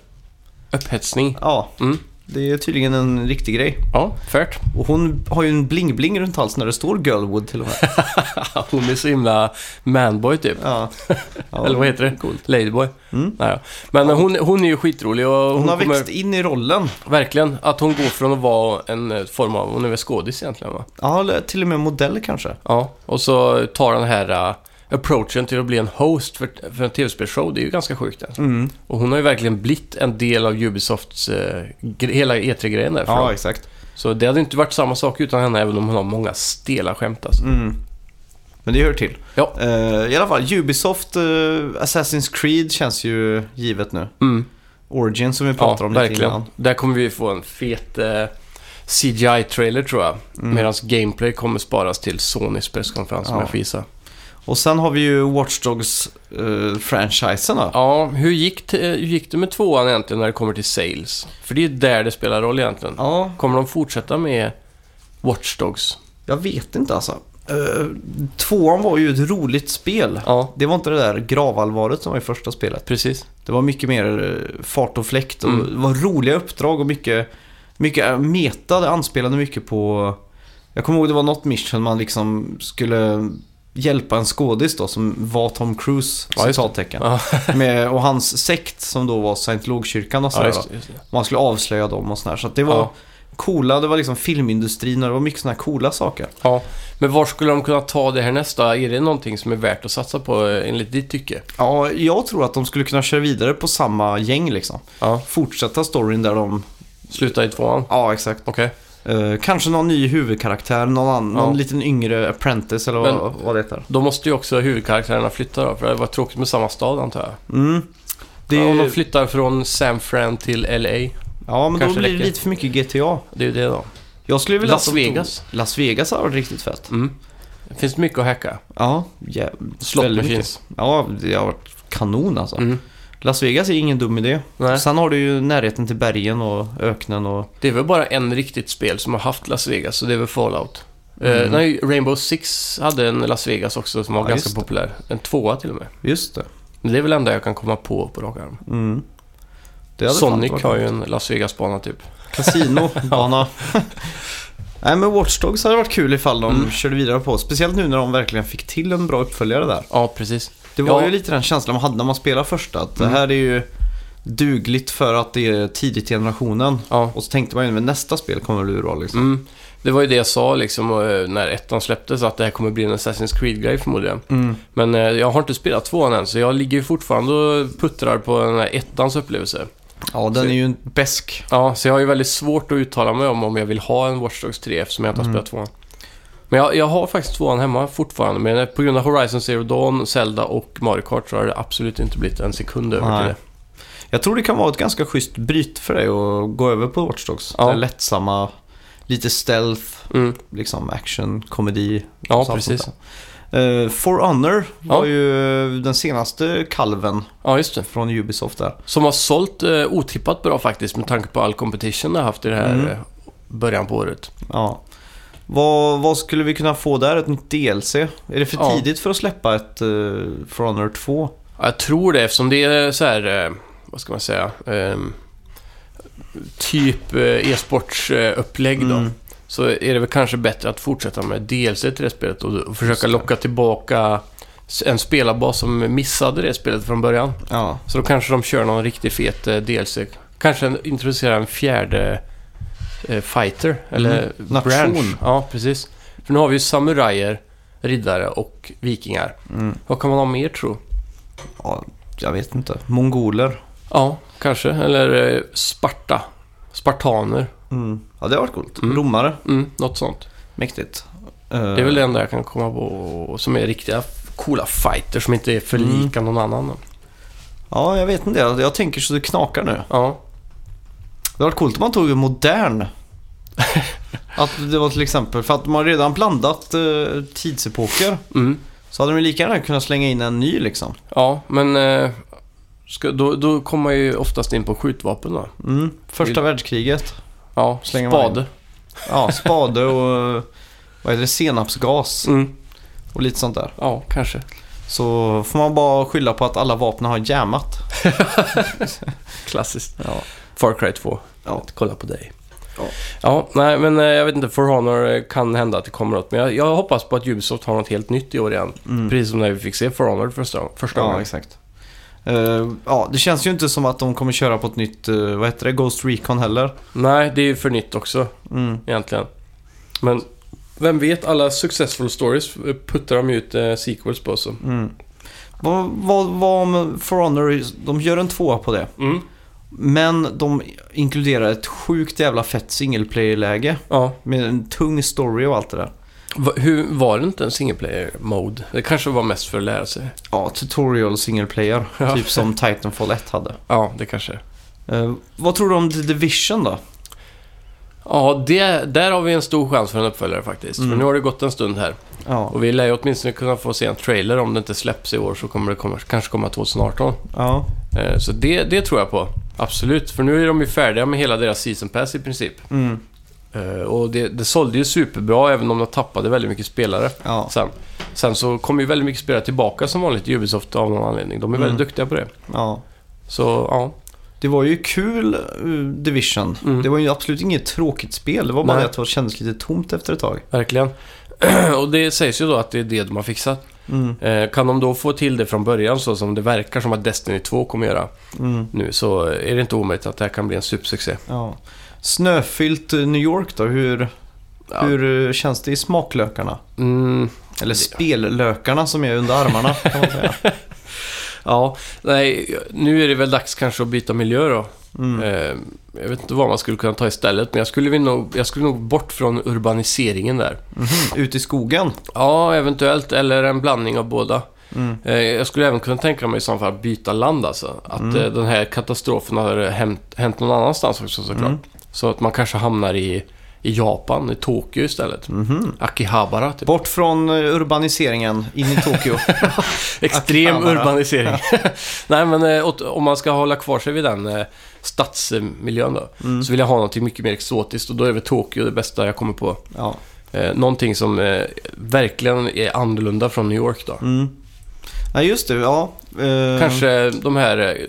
A: Upphetsning.
B: Ja,
A: Mm.
B: det är tydligen en riktig grej.
A: Ja, färt. <laughs>
B: Och hon har ju en bling-bling runt halsen när det står Girlwood till och med.
A: Hon är så himla manboy typ.
B: Ja. Ja.
A: Eller vad heter det?
B: Coolt.
A: Ladyboy.
B: Mm.
A: Nej, ja. Men eh, hon, hon är ju skitrolig och hon,
B: Hon har
A: kommer,
B: växt in i rollen.
A: Verkligen. Att hon går från att vara en eh, form av... Hon är väl skådis egentligen va?
B: Ja, eller till och med modell kanske.
A: Ja. Och så tar den här eh, approachen till att bli en host för, för en tv-spelsshow. Det är ju ganska sjukt. Alltså.
B: Mm.
A: Och hon har ju verkligen blivit en del av Ubisofts eh, gre- hela E3-grejen därifrån.
B: Ja, exakt.
A: Så det hade inte varit samma sak utan henne även om hon har många stela skämt alltså.
B: Mm. Men det hör till.
A: Ja.
B: Eh, I alla fall, Ubisoft, eh, Assassin's Creed känns ju givet nu.
A: Mm.
B: Origin som vi
A: Ja,
B: pratade om lite
A: verkligen.
B: innan.
A: Där kommer vi få en fet eh, CGI-trailer tror jag. Medan gameplay kommer sparas till Sonys presskonferens som
B: Mm. Ja.
A: jag får gissa.
B: Och sen har vi ju Watch Dogs eh, franchisen då.
A: Ja, hur gick, t- eh, hur gick det med tvåan egentligen när det kommer till sales? För det är där det spelar roll egentligen.
B: Ja,
A: Kommer de fortsätta med Watch Dogs?
B: jag vet inte alltså. Eh, tvåan var ju ett roligt spel.
A: Ja,
B: Det var inte det där gravallvaret som var i första spelet.
A: precis.
B: Det var mycket mer eh, fart och fläkt och
A: Mm.
B: det var roliga uppdrag och mycket, mycket eh, meta. Det anspelade mycket på... Jag kommer ihåg det var något mission man liksom skulle hjälpa en skådis då som var Tom Cruise,
A: Ja, just det.
B: citattecken.
A: Ja,
B: <laughs> Med, och hans sekt som då var scientologkyrkan och
A: ja
B: sådär.
A: just,
B: då.
A: det, just det.
B: man skulle avslöja dem och sådär. Så att det var
A: Ja.
B: coola, det var liksom filmindustrin och det var mycket sådana här coola saker.
A: Ja. Men var skulle de kunna ta det här nästa? Är det någonting som är värt att satsa på eh, enligt ditt tycke?
B: Ja, jag tror att de skulle kunna köra vidare på samma gäng liksom.
A: Ja.
B: Fortsätta storyn där de...
A: Sluta i tvåan?
B: Ja, exakt.
A: Okej.
B: Eh, kanske någon ny huvudkaraktär, någon, annan,
A: Ja.
B: någon liten yngre apprentice eller vad,
A: Men-
B: vad det heter.
A: Då måste ju också huvudkaraktärerna flytta då, för det var tråkigt med samma stad antar jag.
B: Mm. Det
A: Ja, Om de
B: är,
A: flyttar från San Fran till LA.
B: Ja, men
A: Kanske
B: då blir det
A: läcker.
B: lite för mycket GTA.
A: Det är ju det då.
B: Jag skulle vilja
A: Las
B: att de
A: Vegas.
B: Tog... Las Vegas har varit riktigt fett.
A: Mm. Det finns mycket att hacka.
B: Ja, jävligt.
A: Slot
B: väldigt mycket.
A: machines.
B: Ja, det har varit kanon alltså.
A: Mm.
B: Las Vegas är ingen dum idé.
A: Nej.
B: Sen har du ju närheten till bergen och öknen och...
A: Det är väl bara en riktigt spel som har haft Las Vegas så det är väl Fallout. Eh,
B: Mm.
A: nej, Rainbow Six hade en Las Vegas också som var
B: Ja, just
A: ganska
B: det.
A: populär. En tvåa till och med.
B: Just det.
A: Men det är väl det enda jag kan komma på på rak arm.
B: Mm. Det hade fan
A: Sonic
B: varit-
A: har ju en Las Vegas-bana typ.
B: Casino,
A: <laughs>
B: bana. <laughs> Nej men Watch Dogs hade varit kul ifall de
A: Mm.
B: körde vidare på. Speciellt nu när de verkligen fick till en bra uppföljare där.
A: Ja, precis.
B: Det var
A: Ja.
B: ju lite den känslan man hade när man spelade första. Att
A: Mm.
B: det här är ju dugligt för att det är tidigt i generationen.
A: Ja.
B: Och så tänkte man ju men nästa spel kommer bli bra liksom.
A: Mm. Det var ju det jag sa liksom eh, när ettan släpptes att det här kommer bli en Assassin's Creed-grej förmodligen.
B: Mm.
A: Men eh, jag har inte spelat tvåan än så jag ligger ju fortfarande och puttrar på den här ettans upplevelse.
B: Ja, den
A: Så-
B: är ju en besk.
A: Ja, så jag har ju väldigt svårt att uttala mig om om jag vill ha en Watch Dogs 3 eftersom jag inte har
B: Mm.
A: spelat tvåan. Men jag, jag har faktiskt tvåan hemma fortfarande, men på grund av Horizon Zero Dawn, Zelda och Mario Kart så har det absolut inte blivit en sekund över
B: Nej.
A: till det.
B: Jag tror det kan vara ett ganska schysst bryt för dig att gå över på Watch Dogs.
A: Ja.
B: Det är lättsamma, lite stealth,
A: Mm.
B: liksom action, komedi.
A: Ja,
B: och allt
A: precis.
B: sånt där. Eh, For Honor
A: Ja.
B: var ju den senaste kalven
A: Ja, just det.
B: från Ubisoft där.
A: Som har sålt eh, otippat bra faktiskt med tanke på all competition det har haft i det här
B: Mm.
A: eh, början på året.
B: Ja. Vad, vad skulle vi kunna få där? Ett nytt DLC? Är det för
A: Ja.
B: tidigt för att släppa ett eh, For Honor 2?
A: Ja, jag tror det eftersom det är så här, eh, vad ska man säga, ehm, typ eh, e-sportsupplägg då.
B: Mm.
A: så är det väl kanske bättre att fortsätta med DLC till det spelet och, och försöka
B: det.
A: locka tillbaka s- en spelarbas som missade det spelet från början.
B: Ja.
A: Så då kanske de kör någon riktigt fet eh, DLC. Kanske en, introducera en fjärde eh, fighter eller
B: Mm. Nation.
A: branch. Ja, precis. För nu har vi ju samurajer, riddare och vikingar.
B: Mm.
A: Vad kan man ha mer tro?
B: ja. Jag vet inte. Mongoler.
A: Ja, kanske. Eller eh, Sparta. Spartaner.
B: Mm. Ja, det har varit coolt.
A: Mm.
B: Romare.
A: Mm, något sånt.
B: Mäktigt.
A: Det är väl det enda jag kan komma på som är riktiga coola fighter som inte är för lika någon annan.
B: Eh, Ja, jag vet inte. Jag jag tänker så det knakar nu.
A: Ja,
B: Det hade varit coolt om man tog
A: <laughs>
B: en modern. att det var till exempel, för att man har redan blandat eh, tidsepoker.
A: mm.
B: Så hade de ju lika gärna kunnat slänga in en ny liksom.
A: ja men eh, ska, då, då kommer man ju oftast in på skjutvapen då.
B: Mm. Första världskriget.
A: Ja,
B: Slänger man
A: spade.
B: Ja, spade och eh, vad heter det, senapsgas
A: Mm.
B: och lite sånt där.
A: Ja, kanske.
B: Så får man bara skylla på att alla vapen har jammat.
A: Klassiskt.
B: Ja.
A: Far Cry 2.
B: Ja.
A: Att kolla på dig.
B: Ja.
A: ja, nej men eh, jag vet inte. For Honor eh, kan hända att det kommer något. Men jag, jag hoppas på att Ubisoft har något helt nytt i år igen.
B: Mm.
A: Precis som när vi fick se For Honor första, första
B: Ja,
A: gången.
B: exakt. Eh, ja, det känns ju inte som att de kommer köra på ett nytt, eh, vad heter det, Ghost Recon heller.
A: Nej, det är ju för nytt också.
B: Mm.
A: egentligen. Men vem vet, alla successful stories puttar de ut eh, sequels på så.
B: Mm. Vad, vad, vad om For Honor, de gör en tvåa på det.
A: Mm.
B: Men de inkluderar ett sjukt jävla fett singleplayer-läge.
A: Ja.
B: Med en tung story och allt det där.
A: Va, hur var det inte en single player mode? Det kanske var mest för att lära sig.
B: Ja, tutorial singleplayer.
A: Ja.
B: Typ som Titanfall 1 hade.
A: Ja, det kanske.
B: Eh, vad tror du om The Division då?
A: Ja, det, där har vi en stor chans för en uppföljare faktiskt.
B: Mm.
A: För nu har det gått en stund här.
B: Ja,
A: Och vi lär ju åtminstone kunna få se en trailer. Om det inte släpps i år så kommer det komma, kanske komma 2018.
B: ja.
A: Eh, så det, det tror jag på. Absolut. För nu är de ju färdiga med hela deras season pass i princip.
B: Mm.
A: Eh, och det, det sålde ju superbra även om de tappade väldigt mycket spelare.
B: ja.
A: Sen, sen så kommer ju väldigt mycket spelare tillbaka som vanligt i Ubisoft av någon anledning. De är väldigt
B: Mm.
A: duktiga på det.
B: ja.
A: Så ja,
B: Det var ju kul eh, Division.
A: Mm.
B: Det var ju absolut inget tråkigt spel. Det var bara
A: Nej.
B: det att det kändes lite tomt efter ett tag.
A: verkligen. <clears throat> och det sägs ju då att det är det de har fixat.
B: Mm.
A: Eh, kan de då få till det från början så som det verkar som att Destiny 2 kommer göra
B: Mm.
A: nu så är det inte omöjligt att det här kan bli en supersuccé.
B: Ja. Snöfyllt eh, New York då? Hur,
A: Ja.
B: hur eh, känns det i smaklökarna?
A: Mm,
B: Eller spellökarna som är under armarna kan man <laughs> säga.
A: ja, nej, nu är det väl dags kanske att byta miljö då.
B: Mm.
A: Eh, jag vet inte vad man skulle kunna ta istället men jag skulle, väl nog, jag skulle nog bort från urbaniseringen där.
B: Mhm. Ute i skogen?
A: Ja, eventuellt. Eller en blandning av båda.
B: Mm.
A: Eh, Jag skulle även kunna tänka mig i så fall att byta land alltså. Att
B: Mm.
A: eh, den här katastrofen har eh, hänt, hänt någon annanstans också såklart.
B: Mm.
A: Så att man kanske hamnar i, i Japan, i Tokyo istället.
B: Mhm.
A: Akihabara, typ.
B: Bort från eh, urbaniseringen, in i <laughs> Tokyo.
A: Extrem
B: Akihabara.
A: urbanisering. <laughs> Nej, men eh, åt- om man ska hålla kvar sig vid den eh, stadsmiljön då.
B: Mm.
A: Så vill jag ha något mycket mer exotiskt och då är väl Tokyo det bästa jag kommer på.
B: Ja.
A: Eh, någonting som eh, verkligen är annorlunda från New York då.
B: Mm. Nej, just det. Ja. Eh,
A: Kanske de här, eh,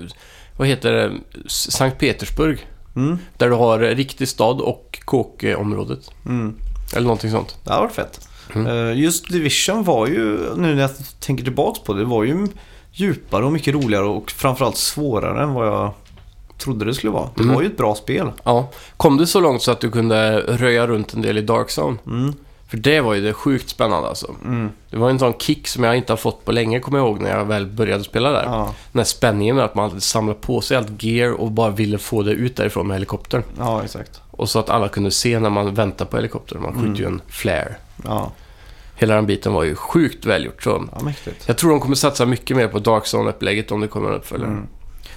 A: vad heter det, S- Sankt Petersburg.
B: Mm.
A: Där du har eh, riktig stad och kåkområdet.
B: Mm.
A: Eller någonting sånt.
B: Det hade varit fett.
A: Mm.
B: Eh, just Division var ju, nu när jag tänker tillbaks på det, det var ju djupare och mycket roligare och framförallt svårare än vad jag trodde det skulle vara. Det
A: Mm.
B: var ju ett bra spel.
A: Ja. Kom du så långt så att du kunde röja runt en del i Dark Zone?
B: Mm.
A: För det var ju det sjukt spännande alltså.
B: Mm.
A: Det var en sån kick som jag inte har fått på länge, kommer jag ihåg, när jag väl började spela där.
B: Ja.
A: Den här spänningen med att man hade samlat på sig allt gear och bara ville få det ut därifrån med helikoptern.
B: ja, exakt.
A: Och så att alla kunde se när man väntar på helikoptern. Man skjuter
B: Mm.
A: ju en flare.
B: Ja,
A: Hela den biten var ju sjukt välgjort. Så
B: ja mäktigt.
A: jag tror de kommer satsa mycket mer på Dark Zone-upplägget om det kommer en uppföljare.
B: Mm.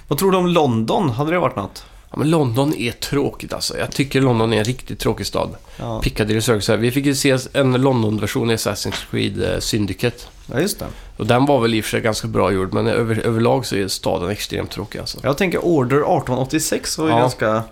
B: Vad tror du om London? Hade det varit något?
A: Ja, men London är tråkigt alltså. Jag tycker London är en riktigt tråkig stad.
B: Ja,
A: Piccadilly Circus här. Vi fick ju se en London-version i Assassin's Creed eh, Syndicate.
B: ja just det.
A: Och den var väl i och för sig ganska bra gjord, men över, överlag så är staden extremt tråkig alltså.
B: Jag tänker Order 1886 var ju
A: Ja.
B: ganska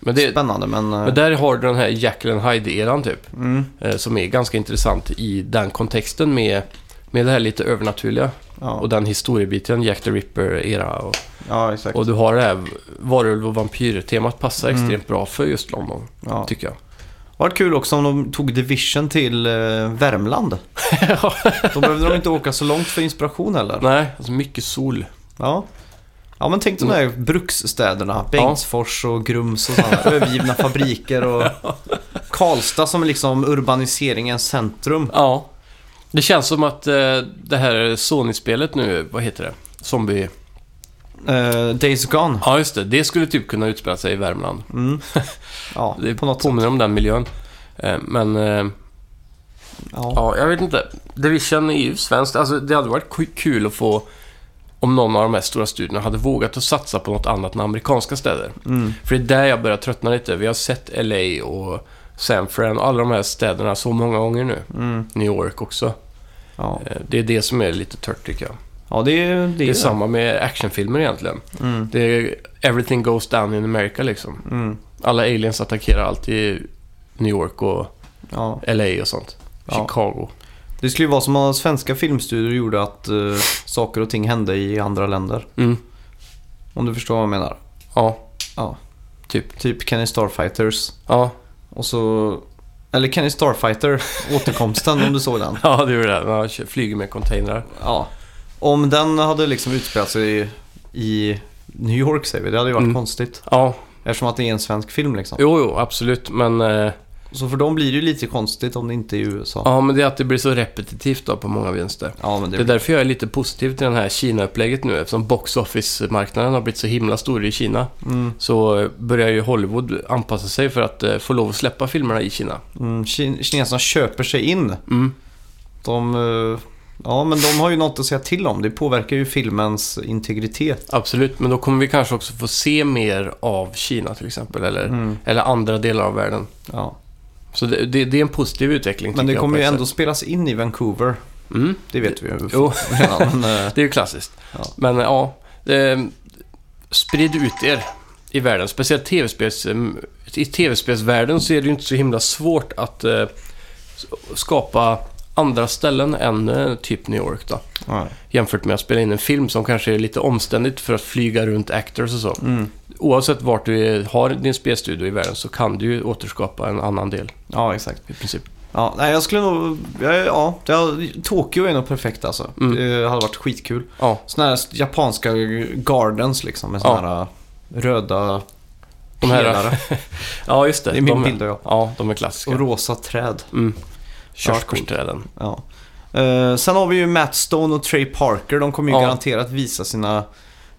A: Men, det,
B: spännande men... eh,
A: men där har du den här Jekyll and Hyde-eran typ.
B: Mm.
A: Eh, som är ganska intressant i den kontexten med, med det här lite övernaturliga.
B: Ja,
A: Och den historiebiten, Jack the Ripper-era. Och,
B: ja exakt.
A: och du har det här varulv och vampyr-temat passar
B: Mm.
A: extremt bra för just London,
B: Ja.
A: tycker jag.
B: Vart kul också om de tog Division till eh, Värmland. Då behövde de inte åka så långt för inspiration heller.
A: Nej, alltså mycket sol.
B: Ja. Ja men tänk de där bruksstäderna. Bengtsfors och Grums och sådana. Övergivna fabriker och Karlstad som är liksom urbaniseringens centrum.
A: Ja. Det känns som att eh, det här Sony-spelet nu, vad heter det? Zombie...
B: Eh, Days Gone.
A: Ja, just det. Det skulle typ kunna utspela sig i Värmland.
B: Mm. Ja,
A: Det
B: på något sätt.
A: påminner om den miljön. Eh, men, eh,
B: Ja.
A: ja, jag vet inte. Division är ju svenskt. Alltså, det hade varit ku- kul att få... Om någon av de här stora studierna hade vågat att satsa på något annat än amerikanska städer.
B: Mm.
A: För det är där jag börjar tröttna lite. Vi har sett LA och San Fran och alla de här städerna så många gånger nu.
B: Mm.
A: New York också.
B: Ja.
A: Eh, Det är det som är lite tört tycker jag.
B: ja, det är det.
A: Det är samma med actionfilmer egentligen.
B: Mm.
A: Det är everything goes down in America liksom.
B: Mm.
A: Alla aliens attackerar alltid New York och
B: Ja.
A: LA och sånt.
B: Ja.
A: Chicago.
B: Det skulle ju vara som om svenska filmstudior gjorde att eh, saker och ting hände i andra länder.
A: Mm.
B: Om du förstår vad jag menar.
A: Ja.
B: Typ Kenny Starfighters.
A: Ja.
B: Och så... Eller Kenny Starfighter, återkomsten om du såg den.
A: ja, det är det. Man kör- flyger med containrar.
B: Ja. Om den hade liksom utspelat sig i, i New York säger vi, det hade ju varit
A: Mm.
B: konstigt.
A: Ja,
B: Eftersom att det är en svensk film liksom.
A: jo, jo, absolut. Men, eh,
B: Så för dem blir det ju lite konstigt om det inte är i USA. Ja,
A: ja, men det är att det blir så repetitivt då på många vänster.
B: men det,
A: Det är därför jag är lite positiv till den här Kina-upplägget nu. Eftersom box office-marknaden har blivit så himla stor i Kina
B: Mm,
A: så eh, börjar ju Hollywood anpassa sig för att eh, få lov att släppa filmerna i Kina.
B: mm, Kin- kineserna köper sig in.
A: Mm.
B: De... eh, Ja, men de har ju något att säga till om. Det påverkar ju filmens integritet.
A: Absolut, men då kommer vi kanske också få se mer av Kina till exempel, eller,
B: Mm.
A: eller andra delar av världen.
B: Ja.
A: Så det, det, det är en positiv utveckling.
B: Men
A: tycker
B: det
A: jag,
B: kommer
A: på
B: ju
A: ett
B: ändå
A: sätt.
B: spelas in i Vancouver.
A: Mm.
B: Det vet vi ju <laughs>
A: Jo,
B: redan. men, eh,
A: det är ju klassiskt.
B: Ja.
A: Men eh, ja, eh, sprid ut er i världen. Speciellt tv-spels, eh, i tv-spelsvärlden så är det ju inte så himla svårt att eh, s- skapa andra ställen än eh, typ New York då.
B: ja.
A: Jämfört med att spela in en film som kanske är lite omständigt för att flyga runt actors och så.
B: Mm.
A: Oavsett vart du är- har din spelstudio i världen så kan du ju återskapa en annan del
B: ja, exakt.
A: i princip.
B: Ja, nej, jag skulle nog... Ja, ja, ja, Tokyo är nog perfekt alltså.
A: Mm.
B: Det hade varit skitkul.
A: Ja,
B: Såna här japanska gardens liksom med såna här äh, röda
A: De här- <laughs>
B: pelare.
A: ja just det.
B: Det är min
A: de
B: bild och jag.
A: Ja, de är
B: Och
A: klassiska.
B: rosa träd.
A: Mm. Körsbärsträden.
B: Ja. Eh, sen har vi ju Matt Stone och Trey Parker. De kommer ju
A: Ja.
B: garanterat visa sina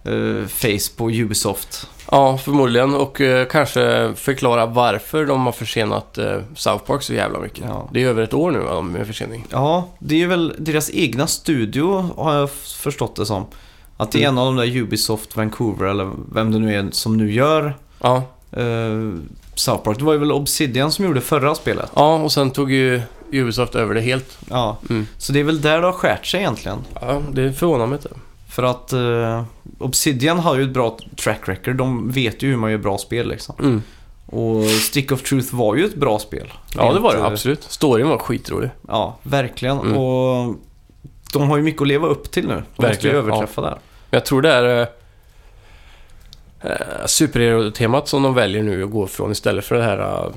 B: eh, face på Ubisoft.
A: Ja, förmodligen. Och eh, kanske förklara varför de har försenat eh, South Park så jävla mycket.
B: Ja.
A: Det är över ett år nu va, med försening.
B: Ja, det är väl deras egna studio har jag f- förstått det som. Att
A: Mm.
B: det är en av de där Ubisoft Vancouver eller vem det nu är som nu gör
A: Ja.
B: eh, South Park. Det var ju väl Obsidian som gjorde förra spelet.
A: ja, och sen tog ju Ubisoft över det helt.
B: Ja,
A: Mm.
B: så det är väl där det har skärt sig egentligen.
A: Ja, det förvånar mig inte.
B: För att eh, Obsidian har ju ett bra track record. De vet ju hur man gör bra spel liksom.
A: Mm.
B: Och Stick of Truth var ju ett bra spel.
A: Ja, det var det.
B: Inte-
A: Absolut. eh, Storyn var skitrolig.
B: Ja, verkligen.
A: Mm.
B: Och de har ju mycket att leva upp till nu. De måste ju
A: Verkligen,
B: överträffa där.
A: Men jag tror det är eh, eh, superhero-temat som de väljer nu att gå från istället för det här eh,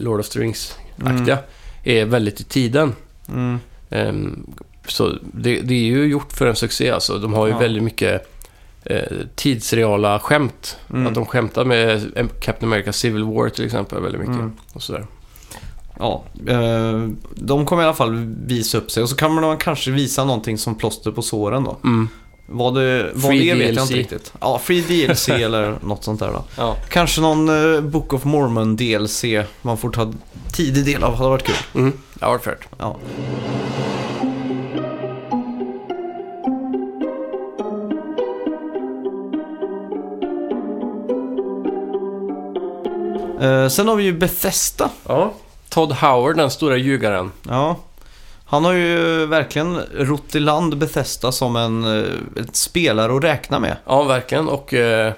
A: Lord of the Rings-aktiga. Är väldigt i tiden.
B: Mm.
A: Ehm, så det, det är ju gjort för en succé alltså. De har ju
B: Ja.
A: väldigt mycket eh, tidsreala skämt.
B: Mm.
A: Att de skämtar med eh, Captain America Civil War till exempel väldigt mycket.
B: Mm.
A: Och sådär.
B: Ja, eh, de kommer i alla fall visa upp sig och så kan man kanske visa någonting som plåster på såren då.
A: Mm.
B: Vad det, vad
A: Free
B: det är vet jag
A: DLC.
B: inte riktigt. Ja, Free
A: <laughs>
B: DLC eller något sånt där då.
A: Ja.
B: Kanske någon eh, Book of Mormon DLC man får ta tidig del av, hade varit kul.
A: Mm. Det har varit frärt.
B: Ja. Eh, sen har vi ju Bethesda.
A: Ja. Todd Howard, den stora ljugaren.
B: Ja. Han har ju verkligen rott i land Bethesda som en eh, ett spelare att räkna med.
A: Ja, verkligen. Och eh,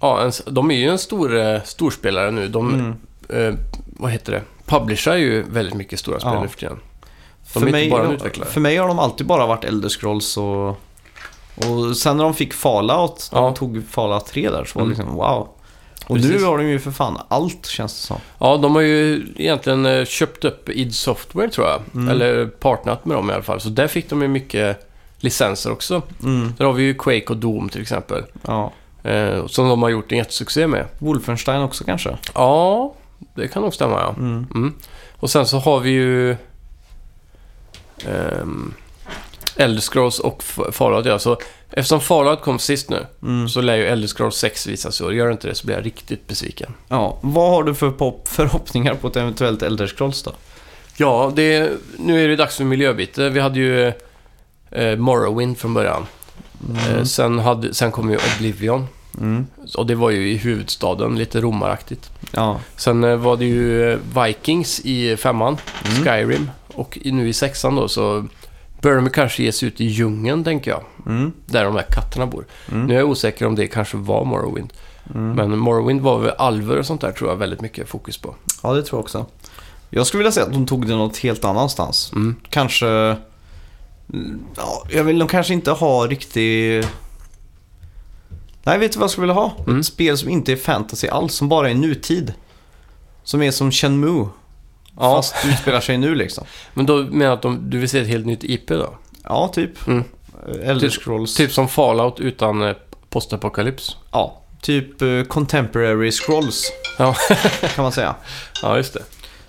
A: ja, en, de är ju en stor, eh, storspelare nu. De,
B: Mm.
A: eh, vad heter det? Publishar ju väldigt mycket stora spel
B: Ja.
A: nu för tiden. De är inte bara en utvecklare.
B: För mig har de alltid bara varit Elder Scrolls och... Och sen när de fick Fallout, när de
A: Ja.
B: tog Fallout 3 där, så var det
A: Mm.
B: liksom wow. Och
A: Precis.
B: nu har de ju för fan allt känns det som.
A: Ja, de har ju egentligen eh, köpt upp id Software tror jag.
B: Mm.
A: Eller partnat med dem i alla fall. Så där fick de ju mycket licenser också.
B: Mm,
A: Där har vi ju Quake och Doom till exempel.
B: ja.
A: Eh, som de har gjort en jättesuccé med.
B: Wolfenstein också kanske?
A: Ja, det kan nog stämma ja.
B: Mm.
A: Mm. Och sen så har vi ju... ehm, Elder Scrolls och F- Fallout ja. Så eftersom Fallout kom sist nu
B: Mm.
A: så lär ju Elder Scrolls 6 visas i år. Gör det inte det så blir jag riktigt besviken.
B: Ja, vad har du för pop- förhoppningar på ett eventuellt Elder Scrolls då?
A: Ja, det, nu är det dags för miljöbyte. Vi hade ju eh, Morrowind från början. Eh, sen, hade, sen kom ju Oblivion.
B: Mm.
A: Och det var ju i huvudstaden, lite romaraktigt.
B: Ja.
A: Sen eh, var det ju eh, Vikings i femman,
B: Mm.
A: Skyrim. Och i, nu i sexan då så bör de kanske ge sig ut i djungeln, tänker jag.
B: Mm.
A: Där de här katterna bor.
B: Mm.
A: Nu är jag osäker om det kanske var Morrowind.
B: Mm.
A: Men Morrowind var väl alver och sånt där tror jag väldigt mycket fokus på.
B: Ja, det tror jag också. Jag skulle vilja säga att de tog det något helt annanstans.
A: Mm.
B: Kanske... Mm, Ja, jag vill nog kanske inte ha riktig... Nej, vet du vad jag skulle vilja ha?
A: Mm.
B: Ett spel som inte är fantasy alls, som bara är nutid. Som är som Shenmue
A: Ja.
B: Fast det utspelar sig nu liksom.
A: Men då menar jag att de, du vill se ett helt nytt IP då?
B: Ja, typ.
A: Mm.
B: Elder
A: Typ-
B: Scrolls.
A: Typ som Fallout utan eh, postapokalyps.
B: Ja, typ eh, Contemporary Scrolls.
A: Ja.
B: kan man säga.
A: <laughs> Ja, just det.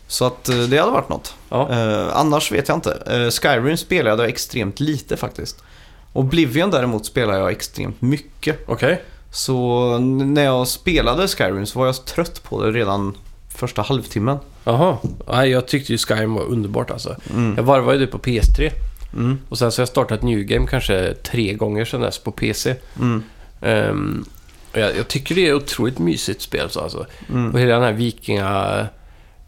B: Så att eh, det hade varit något.
A: Ja.
B: Eh, annars vet jag inte. Eh, Skyrim spelade jag extremt lite faktiskt. Oblivion däremot spelade jag extremt mycket.
A: Okej.
B: Så n- när jag spelade Skyrim så var jag trött på det redan första halvtimmen.
A: Jaha. Nej, jag tyckte ju Skyrim var underbart alltså.
B: Mm.
A: Jag varvade ju det på PS3.
B: Mm.
A: Och sen så har jag startat New Game kanske tre gånger sedan dess på PC.
B: Mm.
A: Ehm, och jag, jag tycker det är ett otroligt mysigt spel så alltså.
B: Mm.
A: Och hela den här vikinga...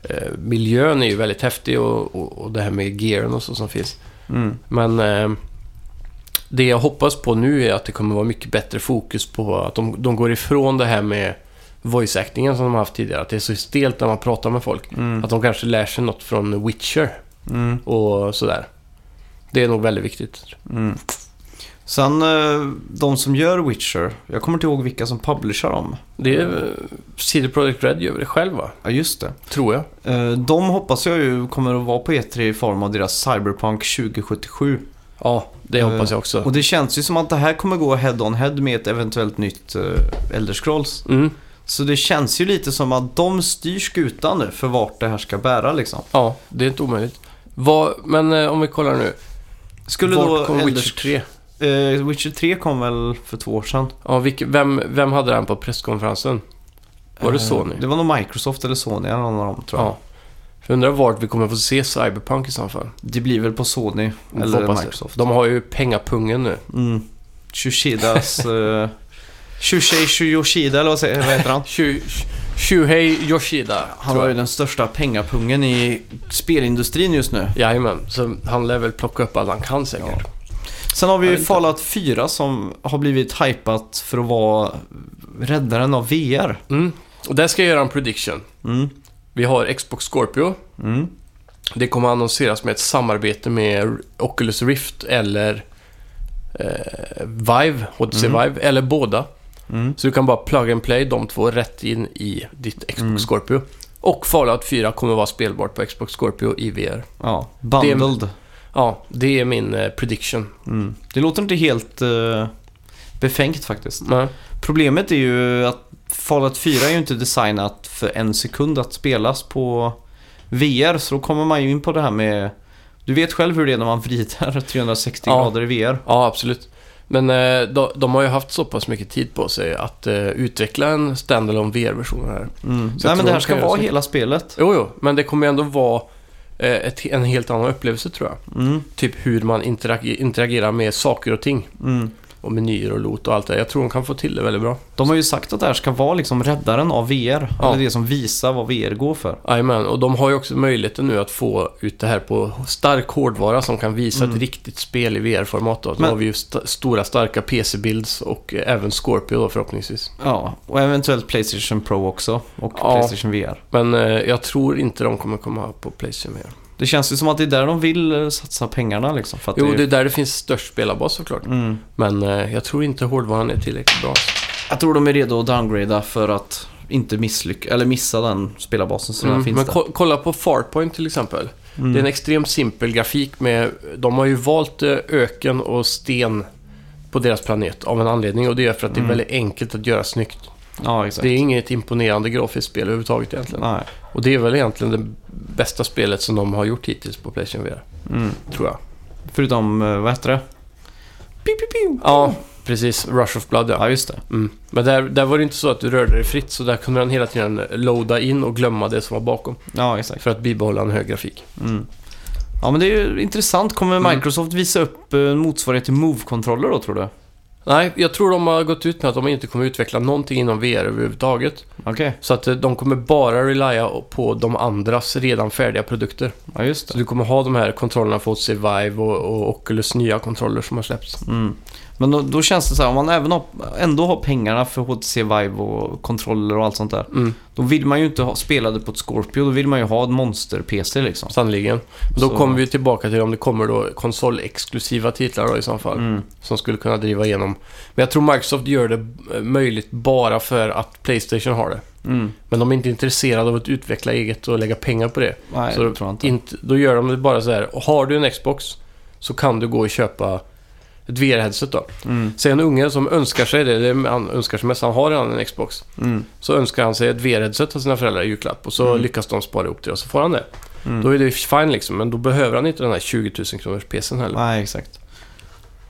A: eh, miljön är ju väldigt häftig och, och, och det här med gearen och så som finns.
B: Mm.
A: Men eh, det jag hoppas på nu är att det kommer vara mycket bättre fokus på att de, de går ifrån det här med voice-actingen som de har haft tidigare. Att det är så stelt när man pratar med folk.
B: Mm.
A: Att de kanske lär sig något från Witcher
B: Mm.
A: och sådär. Det är nog väldigt viktigt.
B: Mm. Sen eh, de som gör Witcher, jag kommer inte ihåg vilka som publicerar dem.
A: Det är, eh, CD Projekt Red gör det själv va?
B: Ja, just det.
A: Tror jag.
B: Eh, De hoppas jag ju kommer att vara på E3 i form av deras Cyberpunk 2077.
A: Ja, det
B: Eh,
A: hoppas jag också.
B: Och det känns ju som att det här kommer gå head-on head med ett eventuellt nytt eh, Elder Scrolls.
A: Mm,
B: Så det känns ju lite som att de styr skutan nu för vart det här ska bära liksom.
A: ja, det är inte omöjligt. Vad, men eh, om vi kollar nu.
B: Skulle
A: Vart
B: då
A: kom
B: Elder-
A: Witcher 3?
B: eh, Witcher 3 kom väl för två år sedan?
A: Ja, vilk, vem, vem hade den på presskonferensen? Var det
B: Eh,
A: Sony?
B: Det var nog Microsoft eller Sony eller någon av dem tror jag.
A: Ja. Jag undrar vart vi kommer få se Cyberpunk i så fall.
B: Det blir väl på Sony
A: Eller
B: eller
A: hoppas
B: Microsoft.
A: Det. De har ju pengapungen nu.
B: Mm.
A: <laughs>
B: Shushidas... Uh, Shushei Shuyoshida eller vad, säger, vad heter han?
A: Shu- Shuhei Yoshida,
B: Han
A: tror
B: har ju
A: jag.
B: den största pengapungen i spelindustrin just nu.
A: Jajamän, så han lär väl plocka upp allt han kan säkert.
B: Sen har vi
A: Jag
B: ju
A: vet inte.
B: Fallout 4 som har blivit hypat för att vara räddaren av VR.
A: Mm. Och där ska jag göra en prediction.
B: Mm.
A: Vi har Xbox Scorpio.
B: Mm.
A: Det kommer annonseras med ett samarbete med Oculus Rift eller eh, Vive, HTC
B: Mm.
A: Vive, eller båda.
B: Mm.
A: Så du kan bara plug and play de två rätt in i ditt Xbox
B: Mm.
A: Scorpio. Och Fallout 4 kommer vara spelbart på Xbox Scorpio i VR.
B: Ja, bundled.
A: Ja, det är min eh, prediction.
B: Mm. Det låter inte helt eh, befängt faktiskt.
A: Nej.
B: Problemet är ju att Fallout 4 är ju inte designat för en sekund att spelas på VR. Så då kommer man ju in på det här med... Du vet själv hur det är när man vrider <laughs> 360
A: Ja.
B: grader i VR.
A: Ja, absolut. Men eh, de, de har ju haft så pass mycket tid på sig att eh, utveckla en standalone VR-version här.
B: Mm.
A: Så jag
B: Nej
A: tror
B: men det här
A: de
B: ska
A: kan göra
B: vara
A: så.
B: hela spelet.
A: Jo, jo, men det kommer ju ändå vara eh, ett, en helt annan upplevelse tror jag.
B: Mm.
A: Typ hur man interag- interagerar med saker och ting.
B: Mm.
A: Och menyer och loot och allt det där. Jag tror de kan få till det väldigt bra.
B: De har ju sagt att det här ska vara liksom räddaren av VR.
A: Ja.
B: Eller det som visar vad VR går för.
A: Jajamän, och de har ju också möjligheten nu att få ut det här på stark hårdvara som kan visa
B: Mm.
A: ett riktigt spel i VR-format. Då, då
B: Men-
A: har vi ju st- stora starka PC-builds och eh, även Scorpio då förhoppningsvis.
B: Ja, och eventuellt Playstation Pro också. Och
A: Ja.
B: Playstation VR.
A: Men eh, jag tror inte de kommer komma på Playstation VR.
B: Det känns ju som att det är där de vill eh, satsa pengarna liksom. För att
A: Jo,
B: det är...
A: det är där det finns störst spelarbas såklart.
B: Mm.
A: Men eh, jag tror inte hårdvaran är tillräckligt bra.
B: Jag tror de är redo att downgrada för att inte misslycka, eller missa den spelarbasen som
A: Mm,
B: redan finns
A: men
B: där.
A: ko- kolla på Farpoint till exempel.
B: Mm.
A: Det är en extremt simpel grafik med... De har ju valt eh, öken och sten på deras planet av en anledning och det är för att det
B: Mm.
A: är väldigt enkelt att göra snyggt.
B: Ja, exakt.
A: Det är inget imponerande grafiskt spel överhuvudtaget egentligen.
B: Nej.
A: Och det är väl egentligen det bästa spelet som de har gjort hittills på Playstation VR,
B: Mm.
A: tror jag.
B: Förutom, eh, vad heter det? Piu, piu, piu.
A: Ja, precis. Rush of Blood, ja.
B: Ja, just det.
A: Mm. Men där, där var det inte så att du rörde dig fritt, så där kunde den hela tiden loada in och glömma det som var bakom.
B: Ja, exakt.
A: För att bibehålla en hög grafik.
B: Mm. Ja, men det är ju intressant. Kommer
A: Mm.
B: Microsoft visa upp eh, en motsvarighet till Move-kontroller då, tror du?
A: Nej, jag tror de har gått ut med att de inte kommer utveckla någonting inom VR överhuvudtaget.
B: Okej.
A: Så att eh, de kommer bara relya på de andras redan färdiga produkter.
B: Ja, just
A: Så
B: det.
A: du kommer ha de här kontrollerna för HTC Vive och, och Oculus nya kontroller som har släppts.
B: Mm. Men då, då känns det så här, om man även har, ändå har pengarna för HTC Vive och kontroller och allt sånt där.
A: Mm,
B: Då vill man ju inte ha, spela det på ett Scorpio, då vill man ju ha ett monster-PC liksom.
A: sannoliken. Då
B: Så-
A: kommer vi tillbaka till om det kommer då konsolexklusiva titlar då i så fall.
B: Mm.
A: Som skulle kunna driva igenom. Men jag tror Microsoft gör det eh, möjligt bara för att Playstation har det.
B: Mm.
A: Men de är inte intresserade av att utveckla eget och lägga pengar på det.
B: Nej,
A: Så
B: det tror jag inte.
A: Inte, då gör de det bara så här. Har du en Xbox så kan du gå och köpa ett VR-headset då.
B: Mm.
A: Säg en unge som önskar sig det, det är- han önskar sig mest, han har redan en Xbox.
B: Mm.
A: Så önskar han sig ett VR-headset av sina föräldrar i julklapp och så
B: Mm.
A: lyckas de spara ihop det och så får han det.
B: Mm.
A: Då är det fine liksom, men då behöver han inte den här 20 000 kronors PCn heller.
B: Nej, exakt.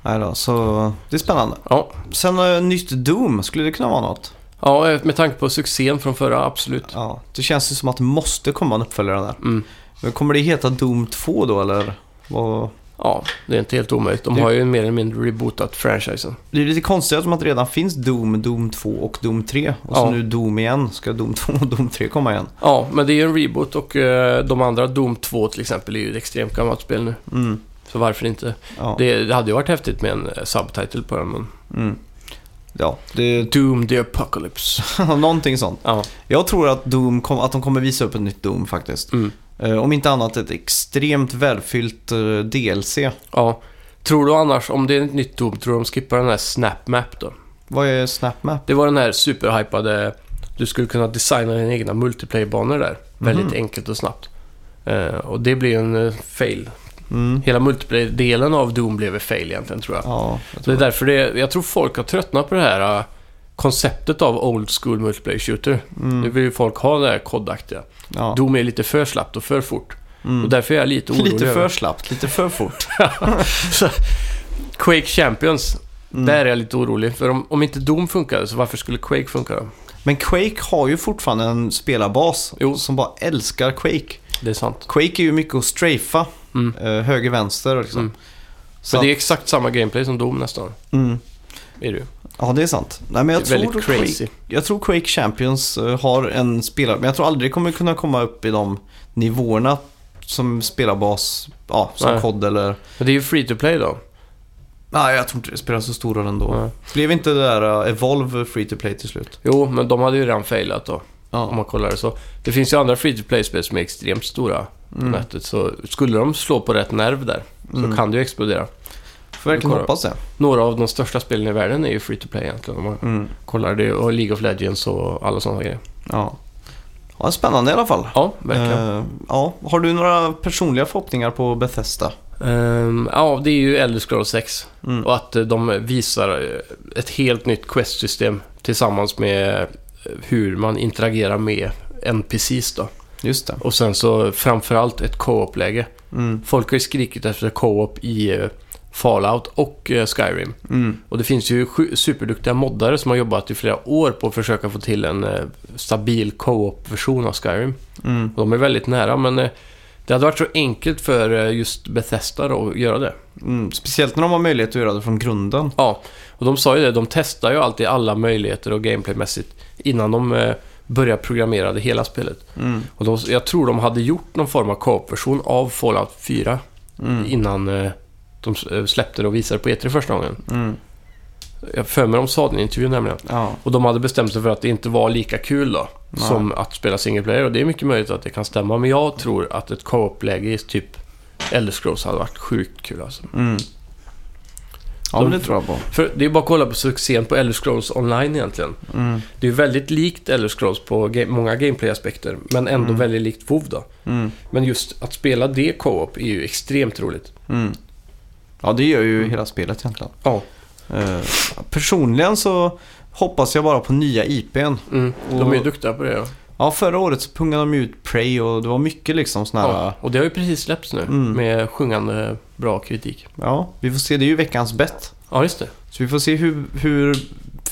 B: Nej då, så det är spännande.
A: Ja.
B: Sen eh, nytt Doom, skulle det kunna vara något?
A: ja, med tanke på succén från förra, absolut.
B: Ja, det känns ju som att det måste komma en uppföljare där.
A: Mm.
B: Men kommer det heta Doom 2 då eller? Vad-
A: Ja, det är inte helt omöjligt. De
B: Det-
A: har ju mer eller mindre rebootat franchisen.
B: Det är lite konstigt eftersom att det redan finns Doom, Doom 2 och Doom 3. Och så
A: Ja.
B: nu Doom igen. Ska Doom 2 och Doom 3 komma igen?
A: Ja, men det är ju en reboot och eh, de andra, Doom 2 till exempel, är ju ett extremt gammalt spel nu.
B: Mm.
A: Så varför inte?
B: Ja.
A: Det, det hade ju varit häftigt med en eh, subtitle på den, men...
B: Mm. Ja, det
A: Doom the Apocalypse.
B: <laughs> någonting sånt.
A: Ja.
B: Jag tror att, Doom kom, att de kommer visa upp ett nytt Doom faktiskt.
A: Mm.
B: Eh, om inte annat ett extremt välfyllt eh, DLC.
A: ja. Tror du annars, om det är ett nytt Doom, tror du de skippar den här Snap Map då?
B: Vad är Snapmap?
A: Det var den här superhypade... Du skulle kunna designa dina egna multiplayer-banor där. Väldigt enkelt och snabbt. Eh, och det blir ju en eh, fail.
B: Mm.
A: Hela multiplayer-delen av Doom blev en fail egentligen, tror jag.
B: Ja, jag
A: Så det
B: tror
A: är därför det, jag tror folk har tröttnat på det här eh, konceptet av old school multiplayer shooter. Nu
B: Mm.
A: vill ju folk ha det här kodaktiga.
B: Ja.
A: Doom är lite för slappt och för fort.
B: Mm.
A: Och därför är jag lite orolig.
B: Lite för
A: över-
B: slappt, lite för fort.
A: Så- Quake Champions.
B: Mm.
A: Där är jag lite orolig. För om, om inte Doom funkade, så varför skulle Quake funka då?
B: Men Quake har ju fortfarande en spelarbas
A: Jo.
B: som bara älskar Quake.
A: Det är sant.
B: Quake är ju mycket att strafa,
A: Mm.
B: eh, höger, vänster liksom.
A: Mm.
B: Så
A: Men det är
B: att-
A: exakt samma gameplay som Doom nästan.
B: mm.
A: Är det ju.
B: Ja, det är sant. Nej, men jag,
A: det är
B: tror
A: väldigt crazy.
B: Quake, jag tror Quake Champions eh, har en spelare, men jag tror aldrig det kommer kunna komma upp i de nivåerna som spelarbas, ja, som
A: Nej.
B: COD eller...
A: Men det är ju free to play då.
B: Nej, jag tror inte det spelar så stor roll ändå.
A: Nej.
B: Blev inte det där eh, Evolve free to play till slut?
A: Jo, men de hade ju redan failat då. Om
B: Ja.
A: man kollar det så. Det finns ju andra free to play-spel som är extremt stora på
B: Mm.
A: nätet. Så skulle de slå på rätt nerv där, så
B: Mm.
A: kan det ju explodera.
B: Får verkligen
A: kolla.
B: hoppas det.
A: Några av de största spelen i världen är ju free to play egentligen. Om man
B: Mm.
A: kollar det. Och League of Legends och alla sådana grejer.
B: Ja. ja, spännande i alla fall.
A: Ja, verkligen.
B: Eh, ja. Har du några personliga förhoppningar på Bethesda?
A: Ehm, ja, det är ju Elder Scrolls 6.
B: Mm.
A: Och att eh, de visar eh, ett helt nytt quest-system tillsammans med eh, hur man interagerar med NPCs då.
B: Just det.
A: Och sen så framförallt ett co-op-läge.
B: Mm.
A: Folk har ju skrikit efter co-op i eh, Fallout och eh, Skyrim.
B: Mm.
A: Och det finns ju sju- superduktiga moddare som har jobbat i flera år på att försöka få till en eh, stabil co-op-version av Skyrim.
B: Mm.
A: Och De är väldigt nära, men eh, det hade varit så enkelt för eh, just Bethesda då att göra det.
B: Mm. Speciellt när de har möjlighet att göra det från grunden.
A: Ja, och de sa ju det, de testar ju alltid alla möjligheter och gameplaymässigt innan de eh, börjar programmera det hela spelet.
B: Mm.
A: Och de, jag tror de hade gjort någon form av co-op-version av Fallout 4
B: Mm.
A: innan eh, de s- eh, släppte det och visade på E3 första gången.
B: Mm.
A: Jag för mig de sa det i en intervju nämligen.
B: Ja.
A: Och de hade bestämt sig för att det inte var lika kul då,
B: Nej.
A: som att spela single player. Och det är mycket möjligt att det kan stämma, men jag tror att ett co-op-läge i typ Elder Scrolls hade varit sjukt kul alltså.
B: Mm. Ja, men det tror jag på.
A: För det är bara att kolla på succén på Elder Scrolls online egentligen.
B: Mm.
A: Det är ju väldigt likt Elder Scrolls på ga- många gameplay-aspekter, men ändå
B: Mm.
A: väldigt likt WoW då.
B: Mm.
A: Men just att spela det co-op är ju extremt roligt.
B: Mm. Ja, det gör ju
A: Mm.
B: hela spelet egentligen.
A: Ja.
B: Eh, personligen så hoppas jag bara på nya IPn.
A: Mm. De är ju
B: Och-
A: duktiga på det. Ja.
B: Ja, förra året så pungade de ut Prey och det var mycket liksom såna här...
A: Ja.
B: Ja.
A: Och det har ju precis släppts nu,
B: Mm.
A: med sjungande bra kritik.
B: vi får se. Det är ju veckans bett.
A: Ja, just det.
B: Så vi får se hur, hur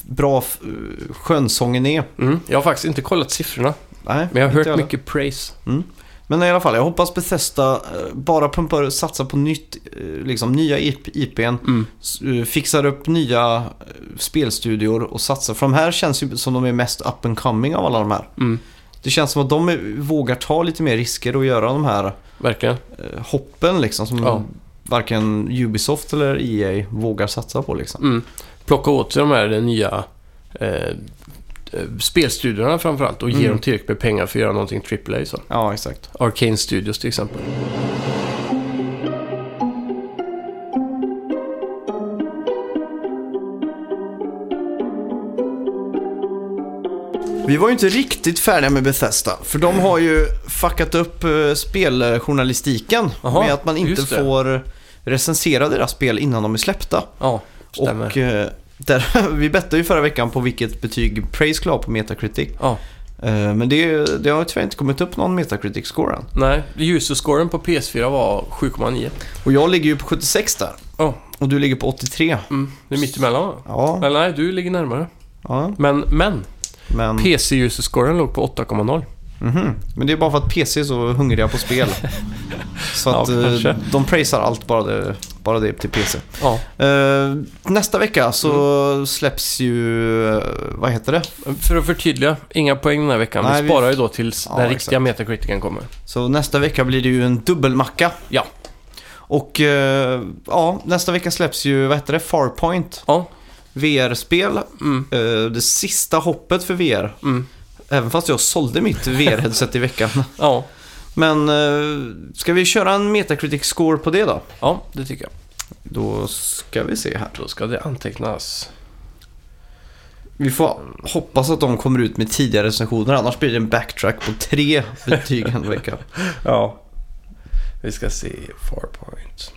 B: bra f- skönsången är.
A: Mm. Jag har faktiskt inte kollat siffrorna,
B: Nej,
A: men jag har
B: inte
A: hört
B: heller.
A: mycket praise.
B: Men i alla fall, jag hoppas Bethesda eh, bara pumpar och satsar på nytt, eh, liksom nya IP- IPn.
A: Mm.
B: s- eh, Fixar upp nya eh, spelstudior och satsar. För de här känns ju som de är mest up and coming av alla de här.
A: Mm.
B: Det känns som att de är- vågar ta lite mer risker och göra de här
A: Verkligen.
B: eh, hoppen liksom som
A: Ja.
B: varken Ubisoft eller EA vågar satsa på liksom.
A: Mm. Plocka åt sig de här eh, nya eh, eh, spelstudiorna framförallt och ge
B: Mm.
A: dem tillräckligt med pengar för att göra någonting AAA. Så.
B: Ja, exakt.
A: Arcane Studios till exempel.
B: Vi var ju inte riktigt färdiga med Bethesda, för de har ju fuckat upp eh, speljournalistiken
A: Jaha,
B: med att man inte
A: just det.
B: får recensera deras spel innan de är släppta.
A: Ja, stämmer.
B: Och eh, där, <laughs> vi bettade ju förra veckan på vilket betyg Praise skulle ha på Metacritic.
A: Ja,
B: Eh, Men det, det har ju tyvärr inte kommit upp någon Metacritic-score än.
A: nej. User-scoren på PS4 var 7,9.
B: Och jag ligger ju på 76 där.
A: Ja,
B: Och du ligger på 83.
A: mm. Det är mittemellan va?
B: Ja,
A: Eller nej, du ligger närmare.
B: ja
A: Men, men.
B: men...
A: PC-user-scoren låg på 8,0.
B: Mhm. Men det är bara för att PC är så hungriga
A: <laughs>
B: på spel. så att
A: Ja,
B: eh,
A: kanske.
B: de praisar allt bara det, bara det är till PC.
A: Ja,
B: Eh, nästa vecka så släpps ju, eh, vad heter det?
A: för att förtydliga. Inga poäng den här veckan.
B: Nej,
A: vi
B: vi-
A: sparar ju då tills
B: Ja,
A: den
B: exakt.
A: riktiga metakritiken kommer.
B: Så nästa vecka blir det ju en dubbelmacka.
A: Ja.
B: Och eh, ja, nästa vecka släpps ju, vad heter det? Farpoint.
A: Ja.
B: VR-spel.
A: Mm,
B: Eh, det sista hoppet för VR.
A: mm.
B: Även fast jag sålde mitt VR-headset i veckan.
A: Ja.
B: Men eh, ska vi köra en Metacritic-score på det då?
A: ja, det tycker jag.
B: Då ska vi se här.
A: Då ska det antecknas.
B: Vi får hoppas att de kommer ut med tidiga recensioner, annars blir det en backtrack på tre betyg en vecka.
A: Ja. Vi ska se Farpoint.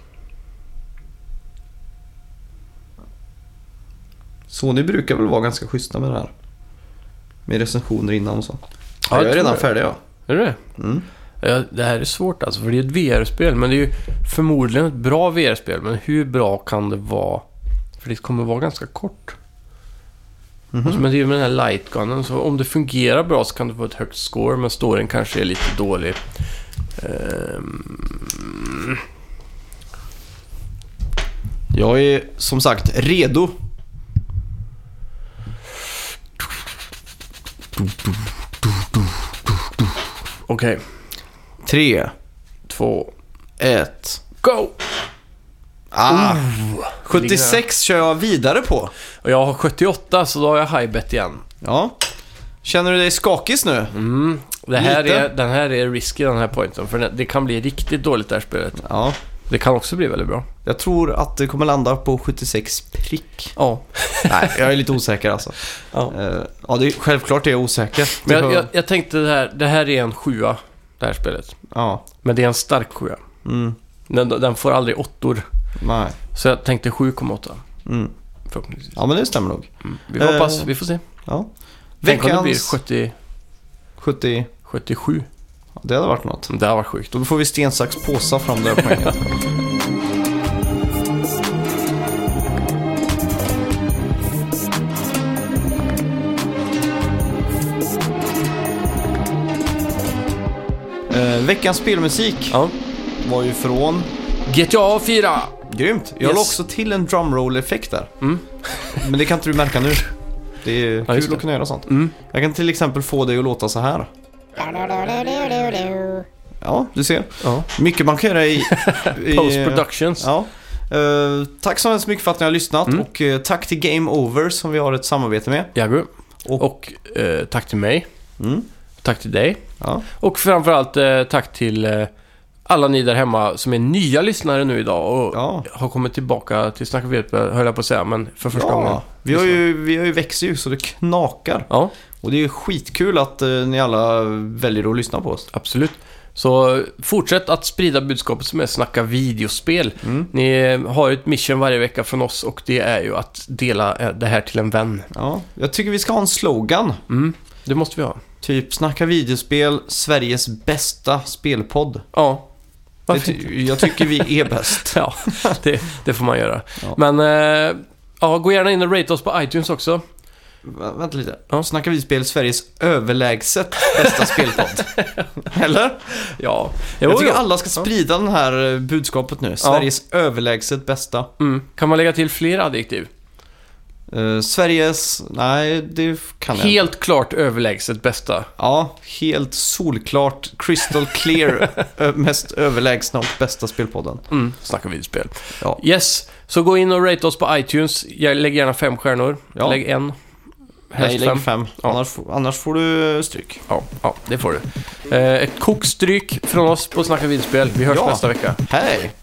B: Sony brukar väl vara ganska schyssta med det här. Med recensioner innan och så.
A: Ja,
B: Ja, jag
A: jag
B: är
A: tror
B: redan
A: det.
B: färdig ja.
A: Är det det?
B: Mm.
A: Ja, det här är svårt alltså, för det är ett VR-spel. Men det är ju förmodligen ett bra VR-spel. Men hur bra kan det vara? För det kommer vara ganska kort.
B: Mhm.
A: Och som jag driver med den här lightgunnen, så om det fungerar bra så kan du få ett högt score. Men storyn kanske är lite dålig. Ehm,
B: Jag är som sagt redo.
A: Okej,
B: 3,
A: två,
B: 1.
A: go!
B: Ah, 76 kör jag vidare på.
A: Och jag har 78 så då har jag highbet igen.
B: Ja. Känner du dig skakig nu?
A: Mm. Det här
B: Lite.
A: är, den här är risky den här pointen. För det kan bli riktigt dåligt det här spelet.
B: Ja.
A: Det kan också bli väldigt bra.
B: Jag tror att det kommer landa på 76 prick.
A: Ja.
B: Nej, jag är lite osäker alltså.
A: Ja.
B: Eh, ja, det är, självklart är jag osäker.
A: <laughs> Men
B: Det
A: jag,
B: hör-
A: jag, jag tänkte det här, det här är en sjua, det här spelet.
B: Ja.
A: Men det är en stark sjua.
B: Mm.
A: Den, den får aldrig åttor.
B: Nej.
A: Så jag tänkte 7,8
B: Mm.
A: förhoppningsvis.
B: Ja, men det stämmer nog.
A: Mm. Vi får
B: Eh,
A: hoppas, vi får se.
B: Ja.
A: Tänk om det blir
B: Veckans
A: 70,
B: 70...
A: 77.
B: Ja, Det hade varit något.
A: Det här var sjukt.
B: Då får vi sten, sax, påsa fram där poängen. Eh, veckans spelmusik
A: Ja.
B: var ju från...
A: GTA 4!
B: Grymt! Jag
A: Yes.
B: la också till en drumroll-effekt där.
A: Mm.
B: Men det kan inte du märka nu. Det är
A: Ja, just
B: kul
A: det.
B: att kunna göra sånt.
A: Mm.
B: Jag kan till exempel få dig att låta så här. Ja, du ser.
A: Ja.
B: Mycket man kan
A: <laughs>
B: göra i... i-
A: Post Productions.
B: Ja. Eh, tack så hemskt mycket för att ni har lyssnat
A: Mm.
B: och eh, tack till Game Over som vi har ett samarbete med.
A: Jagu.
B: Och-
A: Och, eh, tack till mig.
B: Mm.
A: Tack till dig.
B: Ja.
A: Och framförallt eh, tack till eh, alla ni där hemma som är nya lyssnare nu idag och
B: Ja.
A: har kommit tillbaka till Snacka VP, höll jag på att säga, men för första gången.
B: ja. Vi har ju, vi har ju växer ju så det knakar.
A: Ja,
B: Och det är ju skitkul att eh, ni alla väljer att lyssna på oss.
A: absolut. Så eh, fortsätt att sprida budskapet som är Snacka videospel.
B: Mm.
A: Ni eh, har ett mission varje vecka från oss och det är ju att dela eh, det här till en vän.
B: Ja. Jag tycker vi ska ha en slogan.
A: Mm, det måste vi ha.
B: Typ snacka videospel, Sveriges bästa spelpodd.
A: Ja.
B: Det,
A: Varför inte? <laughs>
B: ty- <laughs> jag tycker vi är bäst.
A: Ja, det, det får man göra.
B: Ja.
A: Men, eh, ja, gå gärna in och rate oss på iTunes också.
B: Vä- Vänta lite.
A: Ja.
B: Snacka videospel, Sveriges överlägset
A: <laughs>
B: bästa spelpodd. Eller?
A: Ja,
B: jag tycker
A: jo.
B: alla ska sprida den här eh, budskapet nu. Sveriges överlägset bästa.
A: Mm. Kan man lägga till fler adjektiv?
B: Eh, Sveriges... Nej, det kan jag inte.
A: Helt klart överlägset bästa.
B: Ja, helt solklart, crystal clear,
A: <laughs>
B: ö- mest överlägsna och bästa spelpodden.
A: Mm, snacka videospel.
B: Ja.
A: Yes, så gå in och rate oss på iTunes. Jag lägger gärna fem stjärnor.
B: Ja.
A: Lägg en.
B: Nej,
A: Helst
B: lägg
A: fem.
B: fem.
A: Ja.
B: Annars, f- annars får du eh, stryk.
A: Ja, ja, det får du. Eh, ett kokstryk från oss på Snacka videospel. Vi hörs
B: Ja.
A: nästa vecka.
B: Hej!